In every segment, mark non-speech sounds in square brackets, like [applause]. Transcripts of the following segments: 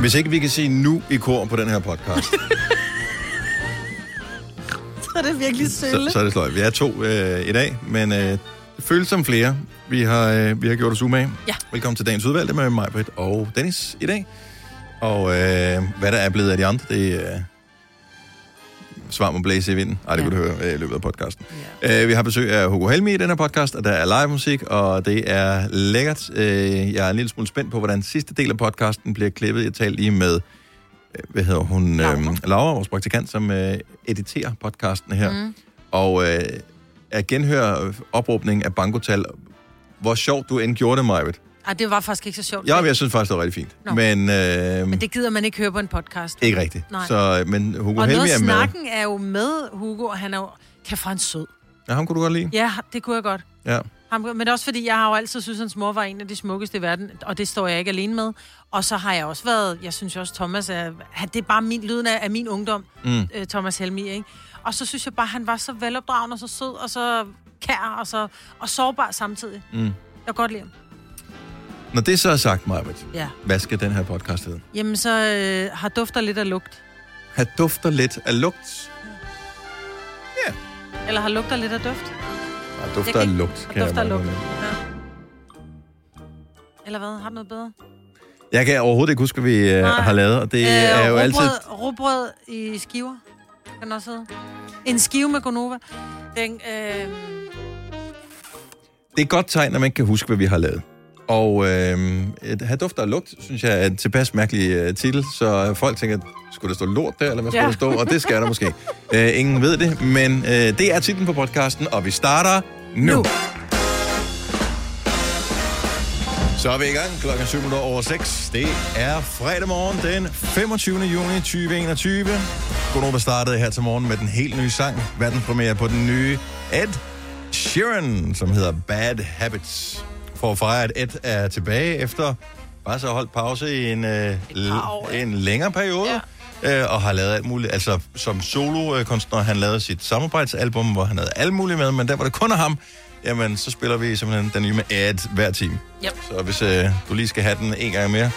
Hvis ikke vi kan sige nu i kor på den her podcast, [laughs] Så er det virkelig sølle. så, så er det sløjt. Vi er to øh, i dag, men øh, det føles som flere. Vi har, øh, vi har gjort os umage. Ja. Velkommen til dagens udvalgte med mig, Britt og Dennis i dag. Og øh, hvad der er blevet af de andre, det øh, svar må blæse i vinden. Ej, det Ja. ja. kunne du høre øh, i løbet af podcasten. Ja. Øh, vi har besøg af Hugo Helmi i den her podcast, og der er live musik, og det er lækkert. Øh, jeg er en lille smule spændt på, hvordan sidste del af podcasten bliver klippet. Jeg talte lige med, øh, hvad hedder hun? Laura. Øhm, Laura, vores praktikant, som øh, editerer podcasten her. Mm. Og øh, at genhøre opråbningen af bankotal. Hvor sjovt du end gjorde det, Majved. Ej, det var faktisk ikke så sjovt. Ja, men jeg synes faktisk, det var rigtig fint. Nå. Men, øh, Men det gider man ikke høre på en podcast. ikke rigtigt. Nej. Så, men Hugo Og Helmi noget er af med. snakken er jo med Hugo, og han er jo... Kæft, for han er sød. Ja, ham kunne du godt lide. Ja, det kunne jeg godt. Ja. Ham, men også fordi, jeg har jo altid synes hans mor var en af de smukkeste i verden, og det står jeg ikke alene med. Og så har jeg også været, jeg synes jo også, Thomas er, han, det er bare min, lyden af, af min ungdom, mm. øh, Thomas Helmi, ikke? Og så synes jeg bare, han var så velopdragen og så sød og så kær og, så, og sårbar samtidig. Mm. Jeg kan godt lide ham. Når det så er sagt, Majbet, Ja. hvad skal den her podcast hedde? Jamen, så øh, har dufter lidt af lugt. Han dufter lidt af lugt. Eller har lugter lidt af duft. Og Jeg dufter kan af ikke- lugt, kan jeg, Dufter af meget lugt. godt lide. Ja. Eller hvad? Har du noget bedre? jeg kan overhovedet ikke huske, hvad vi øh, Nej. har lavet, og det øh, er jo rugbrød, altid... Rugbrød i skiver. Kan den også hedde. En skive med gonova. Den, øh, Det er et godt tegn, når man ikke kan huske, hvad vi har lavet. Og øh, et have dufter og lugt, synes jeg er en tilpas mærkelig øh, titel, så folk tænker, skulle der stå lort der, eller hvad skulle Ja. der stå? Og det skal der måske. Øh, ingen ved det, men øh, det er titlen på podcasten, og vi starter nu. nu. Nu. Så er vi i gang. Klokken er 7 minutter over 6. Det er fredag morgen den 25. juni 2021. Godnova startede her til morgen med den helt nye sang. Verdenspremiere på den nye Ed Sheeran, som hedder Bad Habits. For at fejre, at Ed er tilbage efter bare så holdt pause i en, øh, par år, l- en længere periode. Ja. Øh, og har lavet alt muligt. Altså som solokunstner, han lavede sit samarbejdsalbum, hvor han havde alt muligt med, men der var det kun af ham. Jamen, så spiller vi simpelthen den nye med Ed hver time. Yep. Så hvis øh, du lige skal have den en gang mere,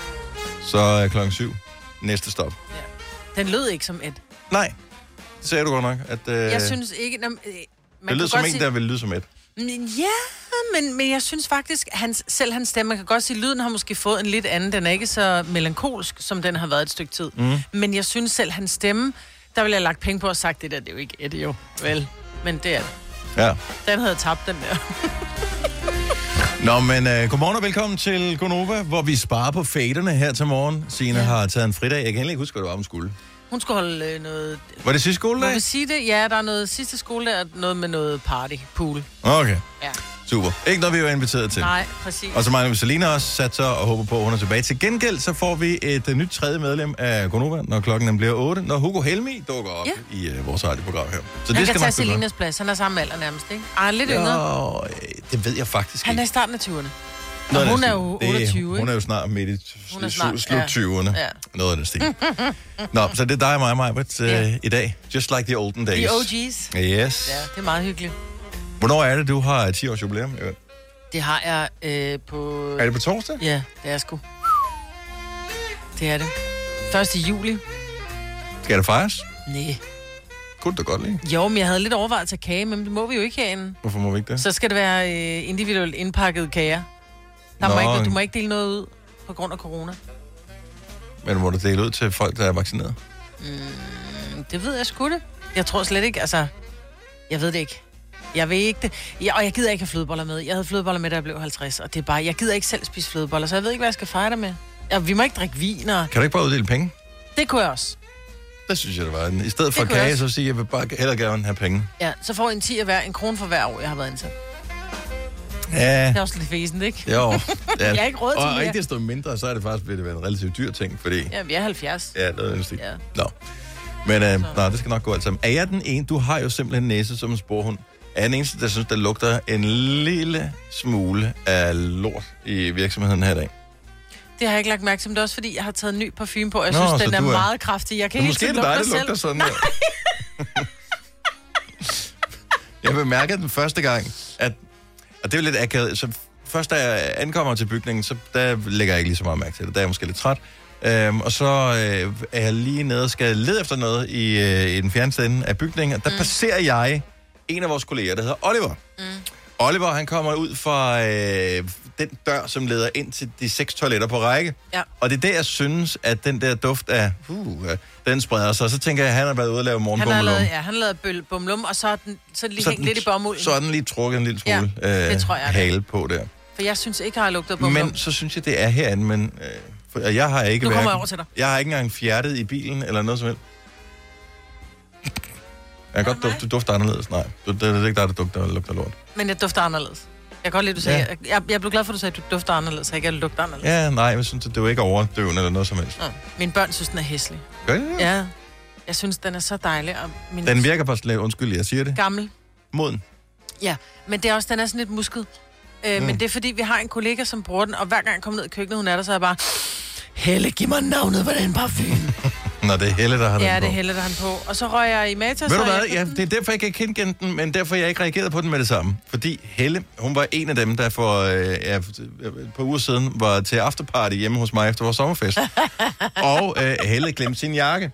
så er klokken syv. Næste stop. den lød ikke som et. Nej, det sagde du godt nok. At, øh, Jeg synes ikke... Nå, men, øh, man det lyder kan som godt en, der vil lyde som et. Men Ja, men, men jeg synes faktisk, hans, selv hans stemme, man kan godt sige, at lyden har måske fået en lidt anden. Den er ikke så melankolsk, som den har været et stykke tid. Mm. Men jeg synes selv, hans stemme, der ville jeg have lagt penge på og sagt, det der, det er jo ikke et, jo. Vel, men det er det. Ja. Den havde tabt, den der. [laughs] Nå, men øh, godmorgen og velkommen til Gonova, hvor vi sparer på faderne her til morgen. Signe ja. har taget en fridag. Jeg kan heller ikke huske, hvad det var, hun skulle. Hun skulle holde øh, noget... Var det sidste Må skoledag? vi sige det? Ja, der er noget sidste skole, der er noget med noget party, pool. Okay, Ja. super. Ikke noget, vi var inviteret til. Nej, præcis. Og så mangler vi Selina også, sat sig og håber på, at hun er tilbage. Til gengæld så får vi et uh, nyt tredje medlem af Gonova, når klokken den bliver 8, når Hugo Helmi dukker op ja. Ja. i uh, vores radioprogram her. Så Han det kan skal tage nok blive godt. Selinas plads. Han er samme alder nærmest, ikke? Ej, han er lidt ja. yngre. Nå, øh, det ved jeg faktisk Han er i ikke. starten af 20'erne. Noget Og af hun den er stil. jo 28, Det- Hun ikke? er jo snart midt i Hun er slut snart- slut ja. 20'erne. Ja. Mm. Noget af [laughs] den stil. Nå, så det er dig og mig, mig, but, uh, Ja. i dag. Just like the olden days. De OG's. Yes. Ja, det er meget hyggeligt. Hvornår er det, du har 10 års jubilæum? i øvrigt? Det har jeg øh, på... Er det på torsdag? Ja, det er jeg sgu. Det er det. 1. juli. Skal det fejres? Nej. Kunne du da godt lide. Jo, men jeg havde lidt overvejet at tage kage, men det må vi jo ikke herinde. Hvorfor må vi ikke det? Så skal det være øh, individuelt indpakket kager. Der Nå. må ikke, du må ikke dele noget ud på grund af corona. Men må du dele ud til folk, der er vaccineret? Mm, Det ved jeg sgu det. Jeg tror slet ikke, altså... Jeg ved det ikke. Jeg ved ikke det. Ja, og jeg gider ikke have flødeboller med. Jeg havde flødeboller med, da jeg blev 50, og det er bare... Jeg gider ikke selv spise flødeboller, så jeg ved ikke, hvad jeg skal fejre det med. Ja, vi må ikke drikke vin, og... Kan du ikke bare uddele penge? Det kunne jeg også. Det synes jeg, det var. en- I stedet for Det kunne jeg kage, også. så siger jeg, jeg vil bare hellere gerne have penge. Ja, så får jeg en 10 af hver, en krone for hver år, jeg har været ansat. Ja. Det er også lidt væsentligt, ikke? [laughs] Jo. Ja. Jeg har ikke råd til Og mere. ikke desto mindre, så er det faktisk blevet det være en relativt dyr ting, fordi... Ja, vi er 70. Ja, noget af den stil. Ja. Nå. Men øh, nej, det skal nok gå alt sammen. Er jeg den ene? Du har jo simpelthen næse som en sporhund. Er jeg den eneste, der synes, der lugter en lille smule af lort i virksomheden her i dag? Det har jeg ikke lagt mærke til, men det er også fordi, jeg har taget en ny parfume på, og jeg Nå, Nå, synes, så den er, du er- meget kraftig. Jeg kan ikke Men måske er selv det lugte mig dig, der selv. lugter sådan her. jeg bemærkede den første gang, at, og det er jo lidt akavet, så først da jeg ankommer til bygningen, så der lægger jeg ikke lige så meget mærke til det, der er jeg måske lidt træt. Øhm, og så øh, er jeg lige nede og skal lede efter noget i, øh, i den fjerneste ende af bygningen. Og der mm. passerer jeg en af vores kolleger, der hedder Oliver. Mm. Oliver, han kommer ud fra øh, den dør, som leder ind til de seks toiletter på række. Ja. Og det er der, jeg synes, at den der duft af, uh, øh, den spreder sig. Så tænker jeg, at han har været ude og lave Han har morgenbummelum. lavet, ja, han har lavet bøl, bumlum, og så er den, så er den lige hængt lidt i bomulden. så er den lige trukket en lille smule Ja, ja, det øh, tror jeg, det er. hale på der. For jeg synes ikke, jeg har lugtet bomlum. Men så synes jeg, det er herinde, men øh, for, og jeg har ikke Nu kommer jeg hverken- over til dig. Jeg har ikke engang fjertet i bilen eller noget som helst. Jeg kan godt Ah, dufte, du dufter anderledes. Nej, du, det, det er ikke dig, der dufter, der lugter lort. Men jeg dufter anderledes. Jeg kan godt lide, du sagde. Ja. Jeg, jeg, jeg blev glad for, at du sagde, at du dufter anderledes, og ikke at jeg lugter anderledes. Ja, nej, jeg synes, det, det er jo ikke overdøvende eller noget som helst. Ja. Mine børn synes, den er hæslig. Gør det det? Ja. Jeg synes, den er så dejlig. Og min Hmm. Den virker bare slet, undskyld, jeg siger det, gammel. moden. Ja, men det er også, den er sådan lidt musket. Øh, Hmm. Men det er fordi, vi har en kollega, som bruger den, og hver gang jeg kommer ned i køkkenet, hun er der, så er jeg bare... Helle, giv mig navnet på den parfume. Nå, det er Helle, der har ja, den det på. er Helle, der er han på. Og så røg jeg i Matas. Ved du og hvad? jeg- Ja, det er derfor, jeg kan kendkende den, men derfor, jeg ikke reagerede på den med det samme. Fordi Helle, hun var en af dem, der for øh, ja, et par uger siden var til afterparty hjemme hos mig efter [laughs] vores sommerfest. og øh, Helle glemte sin jakke.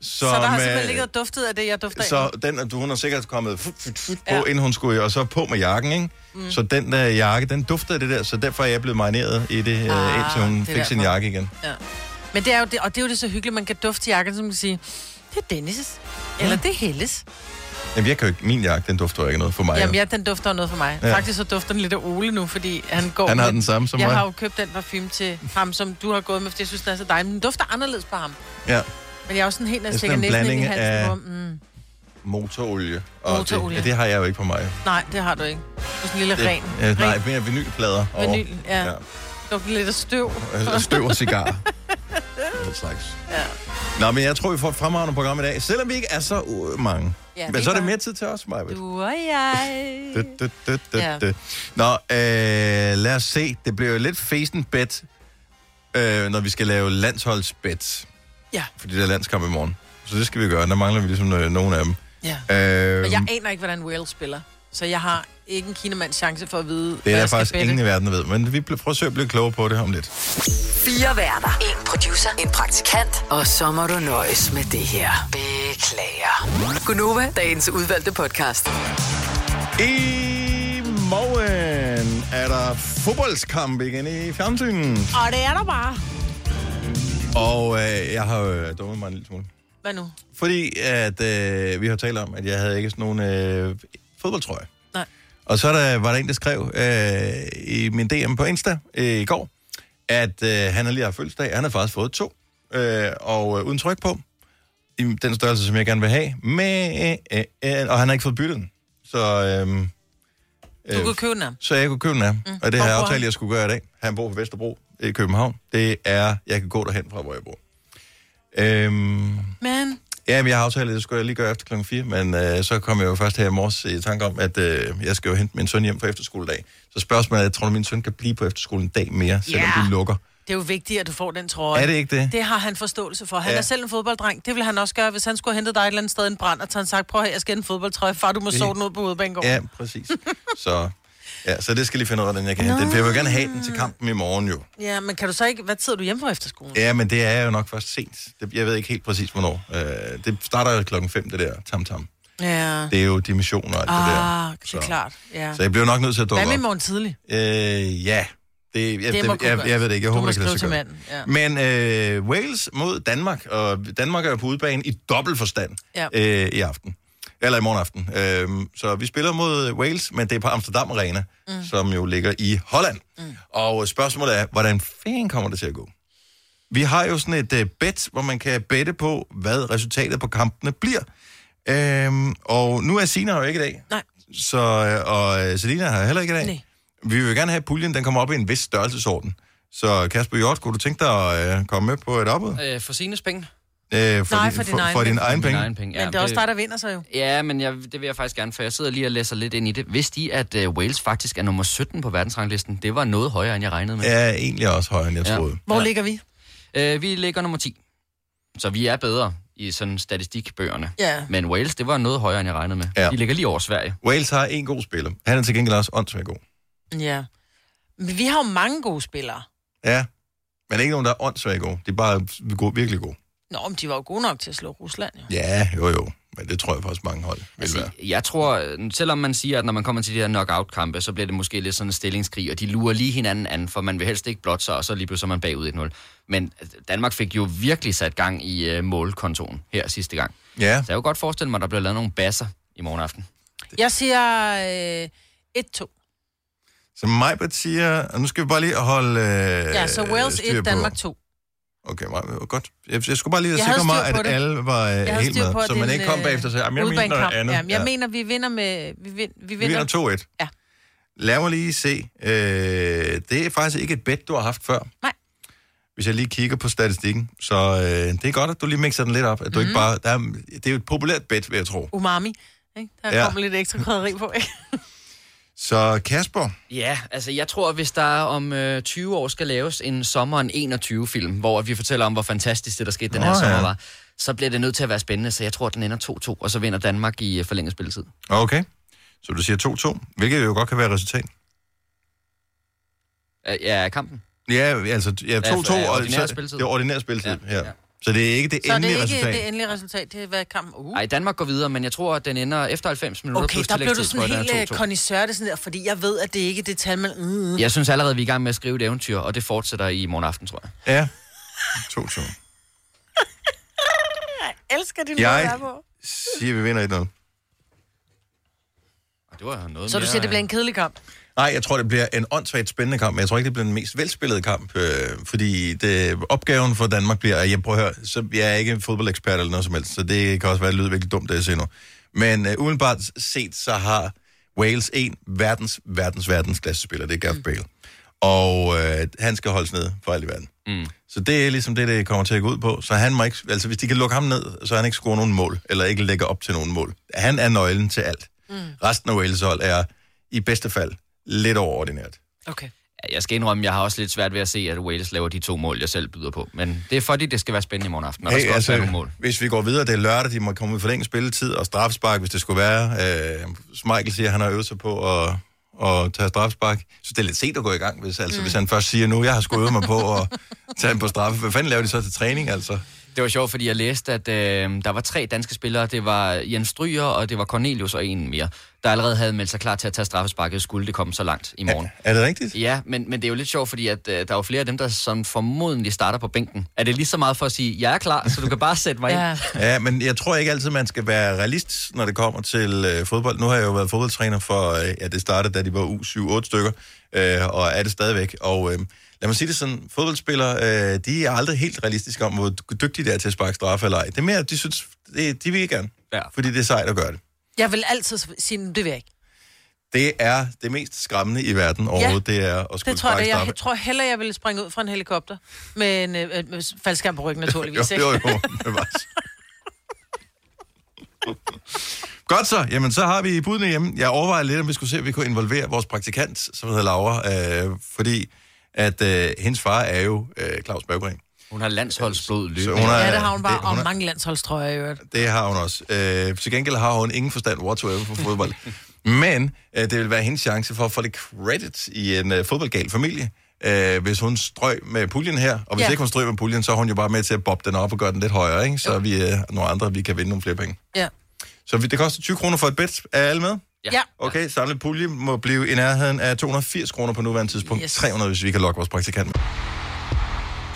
Så der har øh, simpelthen ligget og duftet af det, jeg dufter så så... den, du, hun har sikkert kommet fut, fut, fut på, Ja. ja. inden hun skulle, og så på med jakken, ikke? Mm. Så den der jakke, den duftede af det der, så derfor er jeg blevet marineret i det, Ah, ah, indtil hun det er fik sin derfor. jakke igen. ja. Men det er jo det, og det er jo det så hyggeligt, man kan dufte jakken, som man kan sige, det er Dennis' eller det er Helles. Jamen, jeg kan jo ikke, min jakke, den dufter jo ikke noget for mig. Jamen ja, den dufter jo noget for mig. Ja. Ja. Faktisk så dufter den lidt af Ole nu, fordi han går... Han har med- den samme som jeg mig. har jo købt den parfume til ham, som du har gået med, fordi jeg synes, den er så dejlig. Men den dufter anderledes på ham. ja. Men jeg er også sådan helt, når jeg Det er stikker sådan en næsen ind i blanding halsen. af- Af... Mm, Motorolie. Og Motorolie. Det, ja, det har jeg jo ikke på mig. nej, det har du ikke. Du er sådan en lille Det- ren. Øh, nej, ren mere vinylplader. over. Vinyl, ja. ja. Dufter lidt af støv. ja. Altså, Støv [laughs] og cigar. Den slags. Ja. Nå, men jeg tror, vi får et fremragende program i dag, selvom vi ikke er så uh, mange. Ja, Ja, men det så er det gør- mere tid til os, Maja. Du og jeg. Ja. Nå, øh, lad os se. Det bliver jo lidt fesen bet, øh, når vi skal lave landsholdsbet, Ja, fordi der er landskamp i morgen. Så det skal vi gøre. Der mangler vi ligesom øh, nogen af dem. ja. Øh, Og jeg aner ikke, hvordan Wales spiller. Så jeg har ikke en kinamands chance for at vide, det er der jeg skal faktisk bette. ingen i verden, der ved. Men vi bl- prøver at søge at blive klogere på det om lidt. Fire værter. En producer. En praktikant. Og så må du nøjes med det her. Beklager. Gunova, dagens udvalgte podcast. I morgen er der fodboldskamp igen i fjernsynet. Og det er der bare. Og øh, jeg har øh, dummet mig en lille smule. Hvad nu? Fordi at, øh, vi har talt om, at jeg havde ikke sådan nogen øh, fodboldtrøje. Nej. Og så er der, var der en, der skrev øh, i min DM på Insta øh, i går, at øh, han har lige haft fødselsdag. Han har faktisk fået to, øh, og øh, uden tryk på, i den størrelse, som jeg gerne vil have. Men, øh, øh, og han har ikke fået byttet den. Så, øh, Du kunne købe den af. så jeg kunne købe den af. Mm. Og det Hvor har jeg bor aftalt, han? jeg skulle gøre i dag. Han bor på Vesterbro i København. Det er, jeg kan gå derhen fra, hvor jeg bor. Øhm, Men ja, men jeg har aftalt, at det skulle jeg lige gøre efter klokken 4, men øh, så kom jeg jo først her i morges i tanke om, at øh, jeg skal jo hente min søn hjem på efterskoledag. Så spørgsmålet er, tror du, min søn kan blive på efterskolen en dag mere, selvom Ja. yeah. du lukker? det er jo vigtigt, at du får den trøje. Er det ikke det? Det har han forståelse for. Han Ja. ja. er selv en fodbolddreng. Det vil han også gøre, hvis han skulle hente dig et eller andet sted i en brand, og tage en sagt, prøv at høre, jeg skal have en fodboldtrøje. Far, du må Det- sove den ud på hovedbanegården. Ja, præcis. så, ja, så det skal lige finde ud af, hvordan jeg kan hente den. For jeg vil gerne have den til kampen i morgen jo. ja. men kan du så ikke... Hvad sidder du hjemme på efter skolen? Ja, men det er jo nok først sent. Det, jeg ved ikke helt præcis, hvornår. Øh, det starter jo klokken 5, det der tam-tam. Ja. Det er jo dimensioner og alt det der. Ah, det Så- er klart. Ja. Så jeg bliver nok nødt til at dukke Hvad med op. i morgen tidlig? Øh, ja. Det, jeg, det, må kunne jeg, gøres. jeg, ved det ikke. Jeg Du håber, må det kan lade skrive sig til gøre. Men øh, Wales mod Danmark, og Danmark er jo på udebane i dobbelt forstand Ja. øh, i aften. Eller i morgen aften. Øh, så vi spiller mod Wales, men det er på Amsterdam Arena, mm. som jo ligger i Holland. Mm. Og spørgsmålet er, hvordan fanden kommer det til at gå? Vi har jo sådan et øh, bet, hvor man kan bette på, hvad resultatet på kampene bliver. Øhm, og nu er Sina jo ikke i dag. Nej. Så, øh, og øh, Selina har heller ikke i dag. Nej. Vi vil jo gerne have, at puljen den kommer op i en vis størrelsesorden. Så Kasper Hjort, kunne du tænke dig at øh, komme med på et opbud? Øh, for sine penge. Øh, Nej, din- for din egen for din penge. egen Mine penge. egne penge. Men det er også dig, der vinder sig jo. Ja, men jeg, det vil jeg faktisk gerne, for jeg sidder lige og læser lidt ind i det. Vidste I, at uh, Wales faktisk er nummer 17 på verdensranglisten? Det var noget højere, end jeg regnede med. Er egentlig også højere, end jeg Ja. troede. Hvor Ja. ligger vi? Ja. Uh, vi ligger nummer 10. Så vi er bedre i sådan statistikbøgerne. Ja. Men Wales, det var noget højere, end jeg regnede med. Ja. De ligger lige over Sverige. Wales har en god spiller. Han er til gengæld også åndssvagt god. Ja. Men vi har jo mange gode spillere. Ja. Men ikke nogen, der er åndssvagt gode. De er bare gode, virkelig gode. Nå, men de var jo gode nok til at slå Rusland, jo. Ja, jo jo. Men det tror jeg faktisk mange hold vil altså, være. Jeg tror, øh, selvom man siger, at når man kommer til de her knockout-kampe, så bliver det måske lidt sådan en stillingskrig, og de lurer lige hinanden an, for man vil helst ikke blot sig, og så lige pludselig er man bagud 1-0. Men øh, Danmark fik jo virkelig sat gang i øh, målkontoen her sidste gang. Ja, Så jeg kunne godt forestille mig, at der bliver lavet nogle basser i morgen aften. Jeg siger øh, 1-2. så Majbert siger... Og nu skal vi bare lige holde øh, Ja, så Wales styr 1, på- Danmark 2. Okay, meget godt. Jeg, jeg skulle bare lige Jeg havde sikre mig, styr på at det. alle var øh, Jeg havde helt styr med, på, at så det er man en, ikke kom øh, bagefter og sagde, "Jamen, jeg mener Udbanekamp. noget andet. Jamen, jeg Ja. mener, vi vinder med... Vi, vind, vi Vi vinder. vinder 2-1. Ja. Lad mig lige se. Øh, det er faktisk ikke et bet, du har haft før. Nej. Hvis jeg lige kigger på statistikken. Så øh, det er godt, at du lige mixer den lidt op. At du mm. Mhm. ikke bare, der er, det er jo et populært bet, vil jeg tro. Umami. Ikke? Der Ja. ja. kommer lidt ekstra krydderi på, ikke? Så Kasper, Ja, altså jeg tror, hvis der om øh, 20 år skal laves en sommeren 21-film, hvor vi fortæller om, hvor fantastisk det, der skete den Nå, her ja. sommer var, så bliver det nødt til at være spændende, så jeg tror, at den ender 2-2, og så vinder Danmark i øh, forlænget spilletid. okay. Så du siger 2-2, hvilket jo godt kan være et resultat. Øh, Ja, kampen. Ja, altså ja, 2-2. øh, og ordinær så- spilletid. Det er ordinær spilletid, ja. Ja, ja. ja. Så det er ikke det Så er det endelige ikke resultat. det endelige resultat. Det er hvad kampen... Uh. Nej, Danmark går videre, men jeg tror, at den ender efter 90 minutter Okay, plus der blev du tillægstid, sådan tror jeg, helt den er øh, 2-2. connoisseur, det sådan der, fordi jeg ved, at det ikke er det tal, man... Mm. Jeg synes allerede, vi er i gang med at skrive et eventyr, og det fortsætter i morgen aften, tror jeg. Ja, 2-2. Jeg elsker din måde at være Jeg på. siger, vi vinder 1-0. Og det var noget Så du mere, øh, siger, det bliver en kedelig kamp? Nej, jeg tror, det bliver en åndssvagt spændende kamp, men jeg tror ikke, det bliver den mest velspillede kamp, øh, fordi det, opgaven for Danmark bliver, at jeg prøver at høre, så jeg er ikke en fodboldekspert eller noget som helst, så det kan også være, at det lyder virkelig dumt, det jeg siger nu. Men øh, udenbart set, så har Wales en verdens, verdens, verdens klassespiller, det er Gareth Bale. Og øh, han skal holdes nede for alt i verden. Mm. Så det er ligesom det, det kommer til at gå ud på. Så han må ikke, altså hvis de kan lukke ham ned, så han ikke scorer nogen mål, eller ikke lægger op til nogen mål. Han er nøglen til alt. Mm. Resten af Wales hold er i bedste fald lidt overordinært. Okay. Ja, Jeg skal indrømme, jeg har også lidt svært ved at se, at Wales laver de to mål, jeg selv byder på. Men det er fordi, det skal være spændende i morgen aften, og hey, der skal altså... også være nogle mål. hvis vi går videre, det er lørdag, de må komme ud for længe spilletid og strafspark, hvis det skulle være. Øh, Michael siger, at han har øvet sig på at, at tage strafspark. Så det er lidt sent at gå i gang, hvis, altså, mm. hvis han først siger nu, jeg har skulle øve mig på at tage ham på straffe. Hvad fanden laver de så til træning, altså? Det var sjovt, fordi jeg læste, at øh, der var tre danske spillere. Det var Jens Stryger, og det var Cornelius og en mere, der allerede havde meldt sig klar til at tage straffesparket, skulle det komme så langt i morgen. Er det rigtigt? Ja, men, men det er jo lidt sjovt, fordi at, øh, der er jo flere af dem, der som formodentlig starter på bænken. Er det lige så meget for at sige, jeg er klar, så du kan bare sætte mig ind? Ja. Ja, men jeg tror ikke altid, man skal være realist, når det kommer til øh, fodbold. Nu har jeg jo været fodboldtræner for, øh, ja, det startede, da de var U7-8 stykker, øh, og er det stadigvæk. Og øh, lad mig sige det sådan, fodboldspillere, øh, de er aldrig helt realistiske om, hvor dygtige de er til at sparke straffe eller ej. Det er mere, de synes, det, de vil gerne, Ja. fordi det er sejt at gøre det. Jeg vil altid sige, "Nu, det vil jeg ikke. Det er det mest skræmmende i verden overhovedet, ja, det er at skulle Det tror jeg, sparke det er. straffe. jeg tror heller, jeg ville springe ud fra en helikopter med en øh, øh, faldskærm på ryggen, naturligvis. [laughs] jo, ikke? jo, jo, bevares. Godt så. Jamen, så har vi budene hjemme. Jeg overvejer lidt, om vi skulle se, om vi kunne involvere vores praktikant, som hedder Laura, øh, fordi at øh, hendes far er jo øh, Claus Berggren. Hun har landsholdsblod Så løbende. hun er, Ja, det har hun bare. Det, hun Og er, mange landsholdstrøjer i øvrigt. det har hun også. Øh, til gengæld har hun ingen forstand whatsoever for fodbold. Men øh, det vil være hendes chance for at få lidt credit i en øh, fodboldgal familie. Øh, hvis hun strøg med puljen her, og hvis ja. Ja. ikke hun strøg med puljen, så er hun jo bare med til at bobbe den op og gøre den lidt højere, ikke? så vi øh, nogle andre vi kan vinde nogle flere penge. Ja. Så vi- det koster 20 kroner for et bet. Er alle med? ja. Okay, samlet pulje må blive i nærheden af 280 kroner på nuværende tidspunkt. Yes. Yes. 300, hvis vi kan lokke vores praktikant med.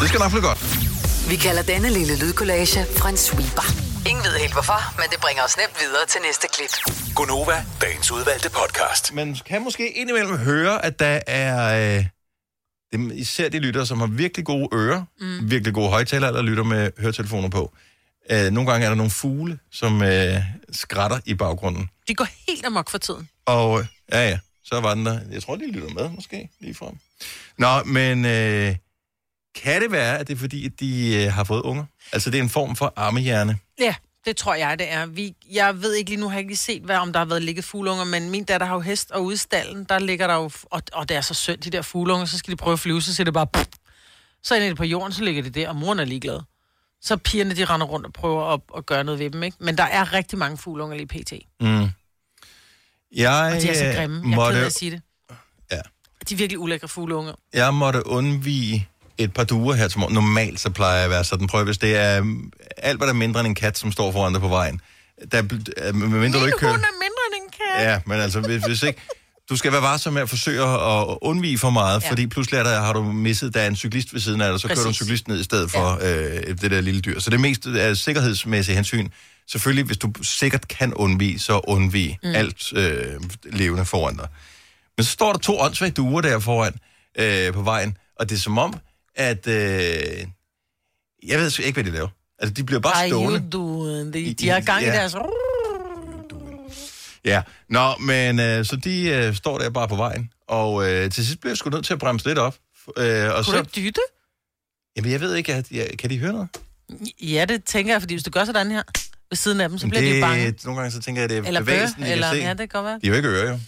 Det skal nok blive godt. Vi kalder denne lille lydkollage en sweeper. Ingen ved helt hvorfor, men det bringer os nemt videre til næste klip. Gunova, dagens udvalgte podcast. Man kan måske indimellem høre, at der er... Øh, dem, især de lytter, som har virkelig gode ører, mm. virkelig gode højtaler, eller lytter med høretelefoner på. Øh, nogle gange er der nogle fugle, som øh, skratter i baggrunden. De går helt amok for tiden. Og øh, ja, ja, så var den der. Jeg tror, de lytter med, måske, lige frem. Nå, men øh, kan det være, at det er fordi, at de øh, har fået unger? Altså, det er en form for armehjerne. Ja, det tror jeg, det er. Vi, jeg ved ikke lige nu, har jeg ikke lige set, hvad, om der har været ligget fugleunger, men min datter har jo hest, og ude i stallen, der ligger der jo, og, og det er så synd, de der fugleunger, så skal de prøve at flyve, så siger det bare, pff. så ender det på jorden, så ligger det der, og moren er ligeglad. Så pigerne, de render rundt og prøver at, at gøre noget ved dem, ikke? Men der er rigtig mange fugleunger lige pt. Mm. Jeg, Og de er så grimme. Jeg er øh, ked måtte, af at sige det. Ja. De er virkelig ulækre fugleunger. jeg måtte undvige et par duer her til morgen. Normalt så plejer jeg at være sådan. Prøv hvis det er øhm, alt, hvad der er mindre end en kat, som står foran dig på vejen. Der, bl- øh, medmindre du ikke kører... er mindre end en kat. Ja, men altså, hvis, hvis ikke... Du skal være varsom med at forsøge at at undvige for meget, Ja. ja. fordi pludselig er der, har du misset, der er en cyklist ved siden af dig, så kører du en Præcis. cyklist ned i stedet for ja. øh, det der lille dyr. Så det meste er øh, sikkerhedsmæssige hensyn. Selvfølgelig, hvis du sikkert kan undvige, så undvig Mm. mm. alt øh, levende foran dig. Men så står der to åndssvage duer der foran øh, på vejen, og det er som om, at... Øh, jeg ved sgu ikke, hvad de laver. Altså, de bliver bare Are stående. you doing? De, de har gang i Ja. deres... Ja, nå, men øh, så de øh, står der bare på vejen, og øh, til sidst bliver jeg sgu nødt til at bremse lidt op. Øh, og Kunne så, du ikke dytte? Jamen, jeg ved ikke, at, jeg, kan de høre noget? Ja, det tænker jeg, fordi hvis du gør sådan her ved siden af dem, så bliver det, de jo bange. Nogle gange så tænker jeg, at det er Eller bevægelsen, bør, de eller- kan se. ja, det kan godt være. De er jo ikke ører, jo.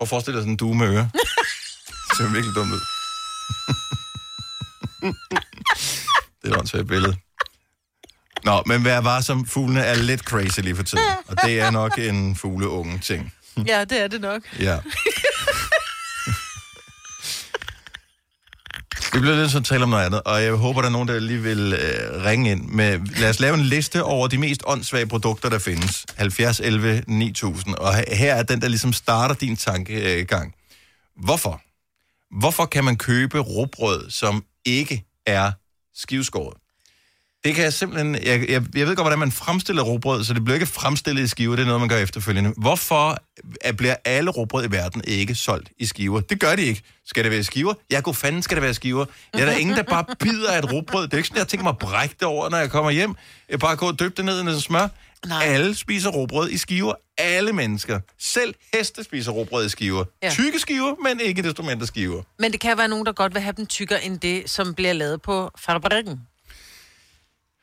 Og forestil dig sådan en due med [laughs] ører. det ser virkelig dumt ud. [laughs] det er et åndssvagt billede. Nå, men vær var som fuglene er lidt crazy lige for tiden. Og det er nok en fugleunge ting. Ja, det er det nok. Ja. Vi bliver lidt så tale om noget andet, og jeg håber, der er nogen, der lige vil øh, ringe ind med... Lad os lave en liste over de mest åndssvage produkter, der findes. 70, 11, 9000. Og he- her er den, der ligesom starter din tankegang. Hvorfor? Hvorfor kan man købe råbrød, som ikke er skiveskåret? Det kan jeg simpelthen... Jeg, jeg, jeg ved godt, hvordan man fremstiller råbrød, så det bliver ikke fremstillet i skiver. Det er noget, man gør efterfølgende. Hvorfor at bliver alle råbrød i verden ikke solgt i skiver? Det gør de ikke. Skal det være i skiver? Ja, god fanden skal det være i skiver. Ja, der er ingen, der bare bider af et råbrød. Det er ikke sådan, jeg tænker mig at brække det over, når jeg kommer hjem. Jeg bare går og døbe det ned i noget smør. Nej. Alle spiser råbrød i skiver. Alle mennesker. Selv heste spiser råbrød i skiver. Ja. Ja. Tykke skiver, men ikke desto mindre skiver. Men det kan være nogen, der godt vil have dem tykkere end det, som bliver lavet på fabrikken.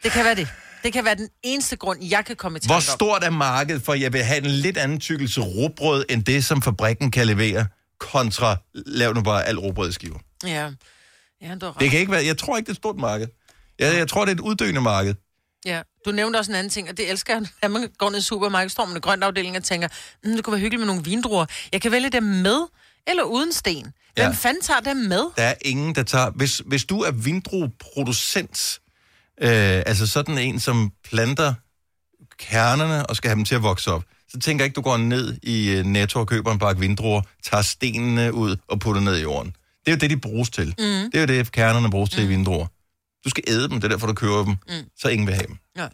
Det kan være det. Det kan være den eneste grund, jeg kan komme i tanke Hvor om. stort er markedet for, at jeg vil have en lidt anden tykkelse råbrød, end det, som fabrikken kan levere, kontra lav nu bare alt råbrød i skiver? Ja. Ja, du har ret. Det kan ikke være, jeg tror ikke, det er et stort marked. Jeg, jeg tror, det er et uddøende marked. Ja. Du nævnte også en anden ting, og det elsker jeg, at man går ned i supermarkedet, står med en grøn afdeling og tænker, mm, det kunne være hyggeligt med nogle vindruer. Jeg kan vælge dem med eller uden sten. Hvem Ja. fanden tager dem med? Der er ingen, der tager... Hvis, hvis du er vindrueproducent, øh, altså sådan en, som planter kernerne og skal have dem til at vokse op, så tænker jeg ikke, du går ned i øh, Netto og køber en pakke vindruer, tager stenene ud og putter ned i jorden. Det er jo det, de bruges til. Mm. Det er jo det, kernerne bruges til i vindruer. Du skal æde dem, det er derfor, du køber dem. Mm. Så ingen vil have dem. Nej.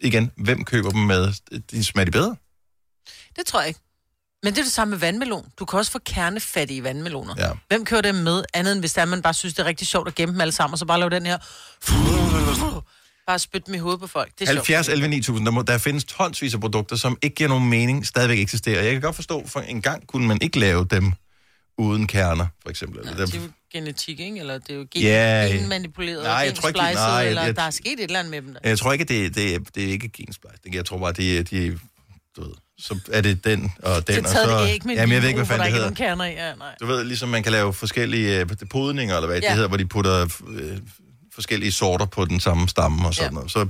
Igen, hvem køber dem med? De smager de bedre? Det tror jeg ikke. Men det er det samme med vandmelon. Du kan også få kernefattige vandmeloner. Ja. Hvem kører dem med, andet end hvis det er, man bare synes, det er rigtig sjovt at gemme dem alle sammen, og så bare lave den her... [laughs] Bare spytte dem i hovedet på folk. Det er 70, sjovt. 11, 9000. Der, må, der findes tonsvis af produkter, som ikke giver nogen mening, stadigvæk eksisterer. Jeg kan godt forstå, for en gang kunne man ikke lave dem uden kerner, for eksempel. Eller Det er dem. jo genetik, ikke? Eller det er jo gen, Ja, ja. manipuleret, Nej, jeg tror ikke, de- nej, eller jeg- der er sket et eller andet med dem der. Jeg tror ikke, det, det, det er ikke gensplejsning. Jeg tror bare, det er, de, du ved, så er det den og den. Den, og og så, det æg med jamen, jeg ved ikke, hvad hvor fanden det der hedder. ikke er nogen kerner i. Ja, nej. Du ved, ligesom man kan lave forskellige øh, podninger, eller hvad ja. Ja. det hedder, hvor de putter øh, forskellige sorter på den samme stamme og sådan ja. Ja. noget. Så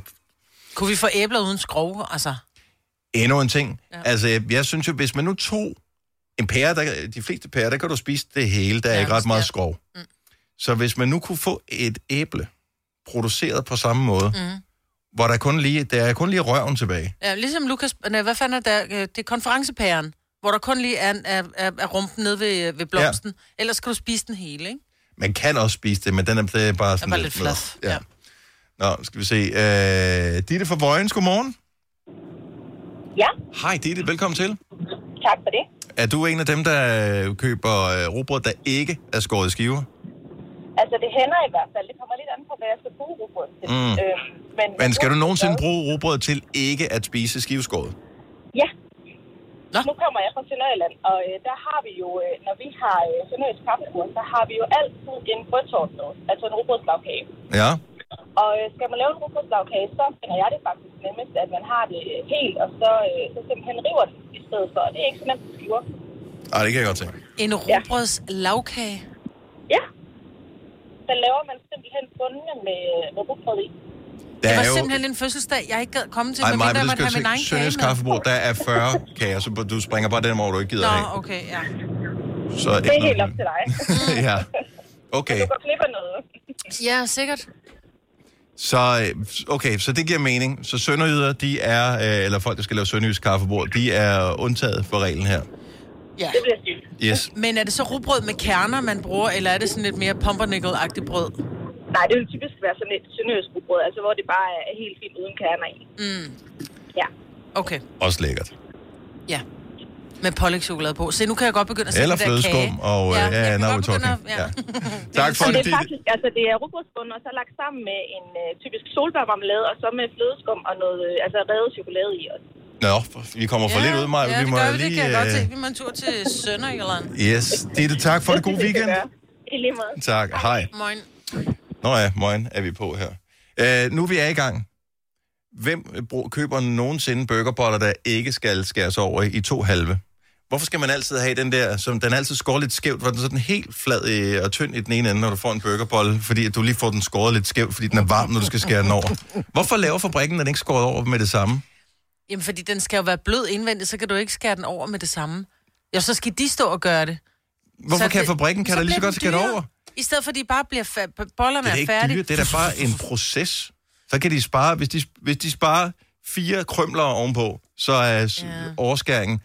Kunne vi få æbler uden skrog, altså? endnu en ting. Ja. Altså, jeg, jeg synes jo, hvis man nu tog en pære, der, de fleste pærer, der kan du spise det hele, der er ja, ikke ret meget ja. skov. Mm. Så hvis man nu kunne få et æble produceret på samme måde, mm. Mm. hvor der kun lige, der er kun lige røven tilbage. Ja, ligesom Lukas... Nej, hvad fanden er der? øh, Det er konferencepæren, hvor der kun lige er, er, er, er rumpen nede ved, øh, ved blomsten. Ja. Ellers skal du spise den hele, ikke? Man kan også spise det, men den er det er bare sådan bare lidt med. flad, ja. Nå, skal vi se. Øh, Ditte fra Vojens, godmorgen. Ja, Hej Ditte, velkommen til. tak for det. Er du en af dem, der øh, køber øh, rugbrød, der ikke er skåret i skiver? Altså, det hænder i hvert fald. Det kommer lidt an på, hvad jeg skal bruge rugbrød til. Mm. Øh, Men skal du nogensinde bruge rugbrød til ikke at spise skiveskåret? Ja. Nå. Nu kommer jeg fra Sønderjylland, og øh, der har vi jo, øh, når vi har øh, sønderjysk kaffekur, så har vi jo altid en brødtårtsås, altså en rugbrødslagkage. Ja. Og øh, skal man lave en rugbrødslagkage, så finder jeg det faktisk nemmest, at man har det øh, helt, og så, øh, så simpelthen river den i stedet for. Det er ikke så nemt at skiver. Ej, det kan jeg godt tænke. En robrøds lavkage. Ja. Så laver man simpelthen bundene med, med rugbrød i. Der det var er jo- simpelthen en fødselsdag, jeg ikke gad komme til, Ej, medmindre Maja, det man skal har min jeg egen se. kage Søndags med. kaffebord, der er 40 kager, så du springer bare den over, du ikke gider Nå, have. [laughs] okay, ja. Så Det er helt op til [laughs] dig. ja. Men Okay, Du går glip af noget. Ja, sikkert. så, øh, okay, så det giver mening. Så sønderjyder, de er, øh, eller folk, der skal lave sønderjysk kaffebord, de er undtaget for reglen her. Ja. Det bliver sygt. Yes. Men er det så rugbrød med kerner, man bruger, eller er det sådan lidt mere pumpernickel-agtigt brød? Nej, det vil typisk være sådan et sønderjysk rugbrød, altså hvor det bare er helt fint uden kerner i. Mm. Ja. Okay, Også lækkert. ja. Med pålægtschokolade på. Se, nu kan jeg godt begynde at sætte Eller den der flødeskum, kage. og øh, ja, ja, now we're talking. at- ja. Ja. Tak for Og det er det, Ditte. faktisk, altså det er rugbrødsbund, og så lagt sammen med en øh, typisk solbærmarmelade, og så med flødeskum og noget, øh, altså revet chokolade i. Og Nå, vi kommer for lidt ud, Maja. ja, vi det må gør vi, lige... det kan jeg godt øh, se. Vi må en tur til Sønderjylland. Yes, Ditte, tak for det [laughs] gode weekend. I lige måde. Tak, hej. Moin. Nå ja, morgen er vi på her. Øh, nu er vi er i gang. Hvem brug, køber nogensinde burgerboller, der ikke skal skæres over i to halve? Hvorfor skal man altid have den der, som den altid skårer lidt skævt, hvor den er sådan helt flad øh, og tynd i den ene ende, når du får en burgerbolle, fordi at du lige får den skåret lidt skævt, fordi den er varm, når du skal skære den over. Hvorfor laver fabrikken den ikke skåret over med det samme? Jamen, fordi den skal jo være blød indvendigt, så kan du ikke skære den over med det samme. Ja, så skal de stå og gøre det. Hvorfor Så kan det- fabrikken kan der lige så bliver godt den skære det dyrere. over? I stedet for, at de bare bliver fa- bollerne Det er er, da ikke færdige. dyrt, det er da bare en proces. Så kan de spare, hvis de, hvis de sparer fire krømler ovenpå, så er ja. overskæringen.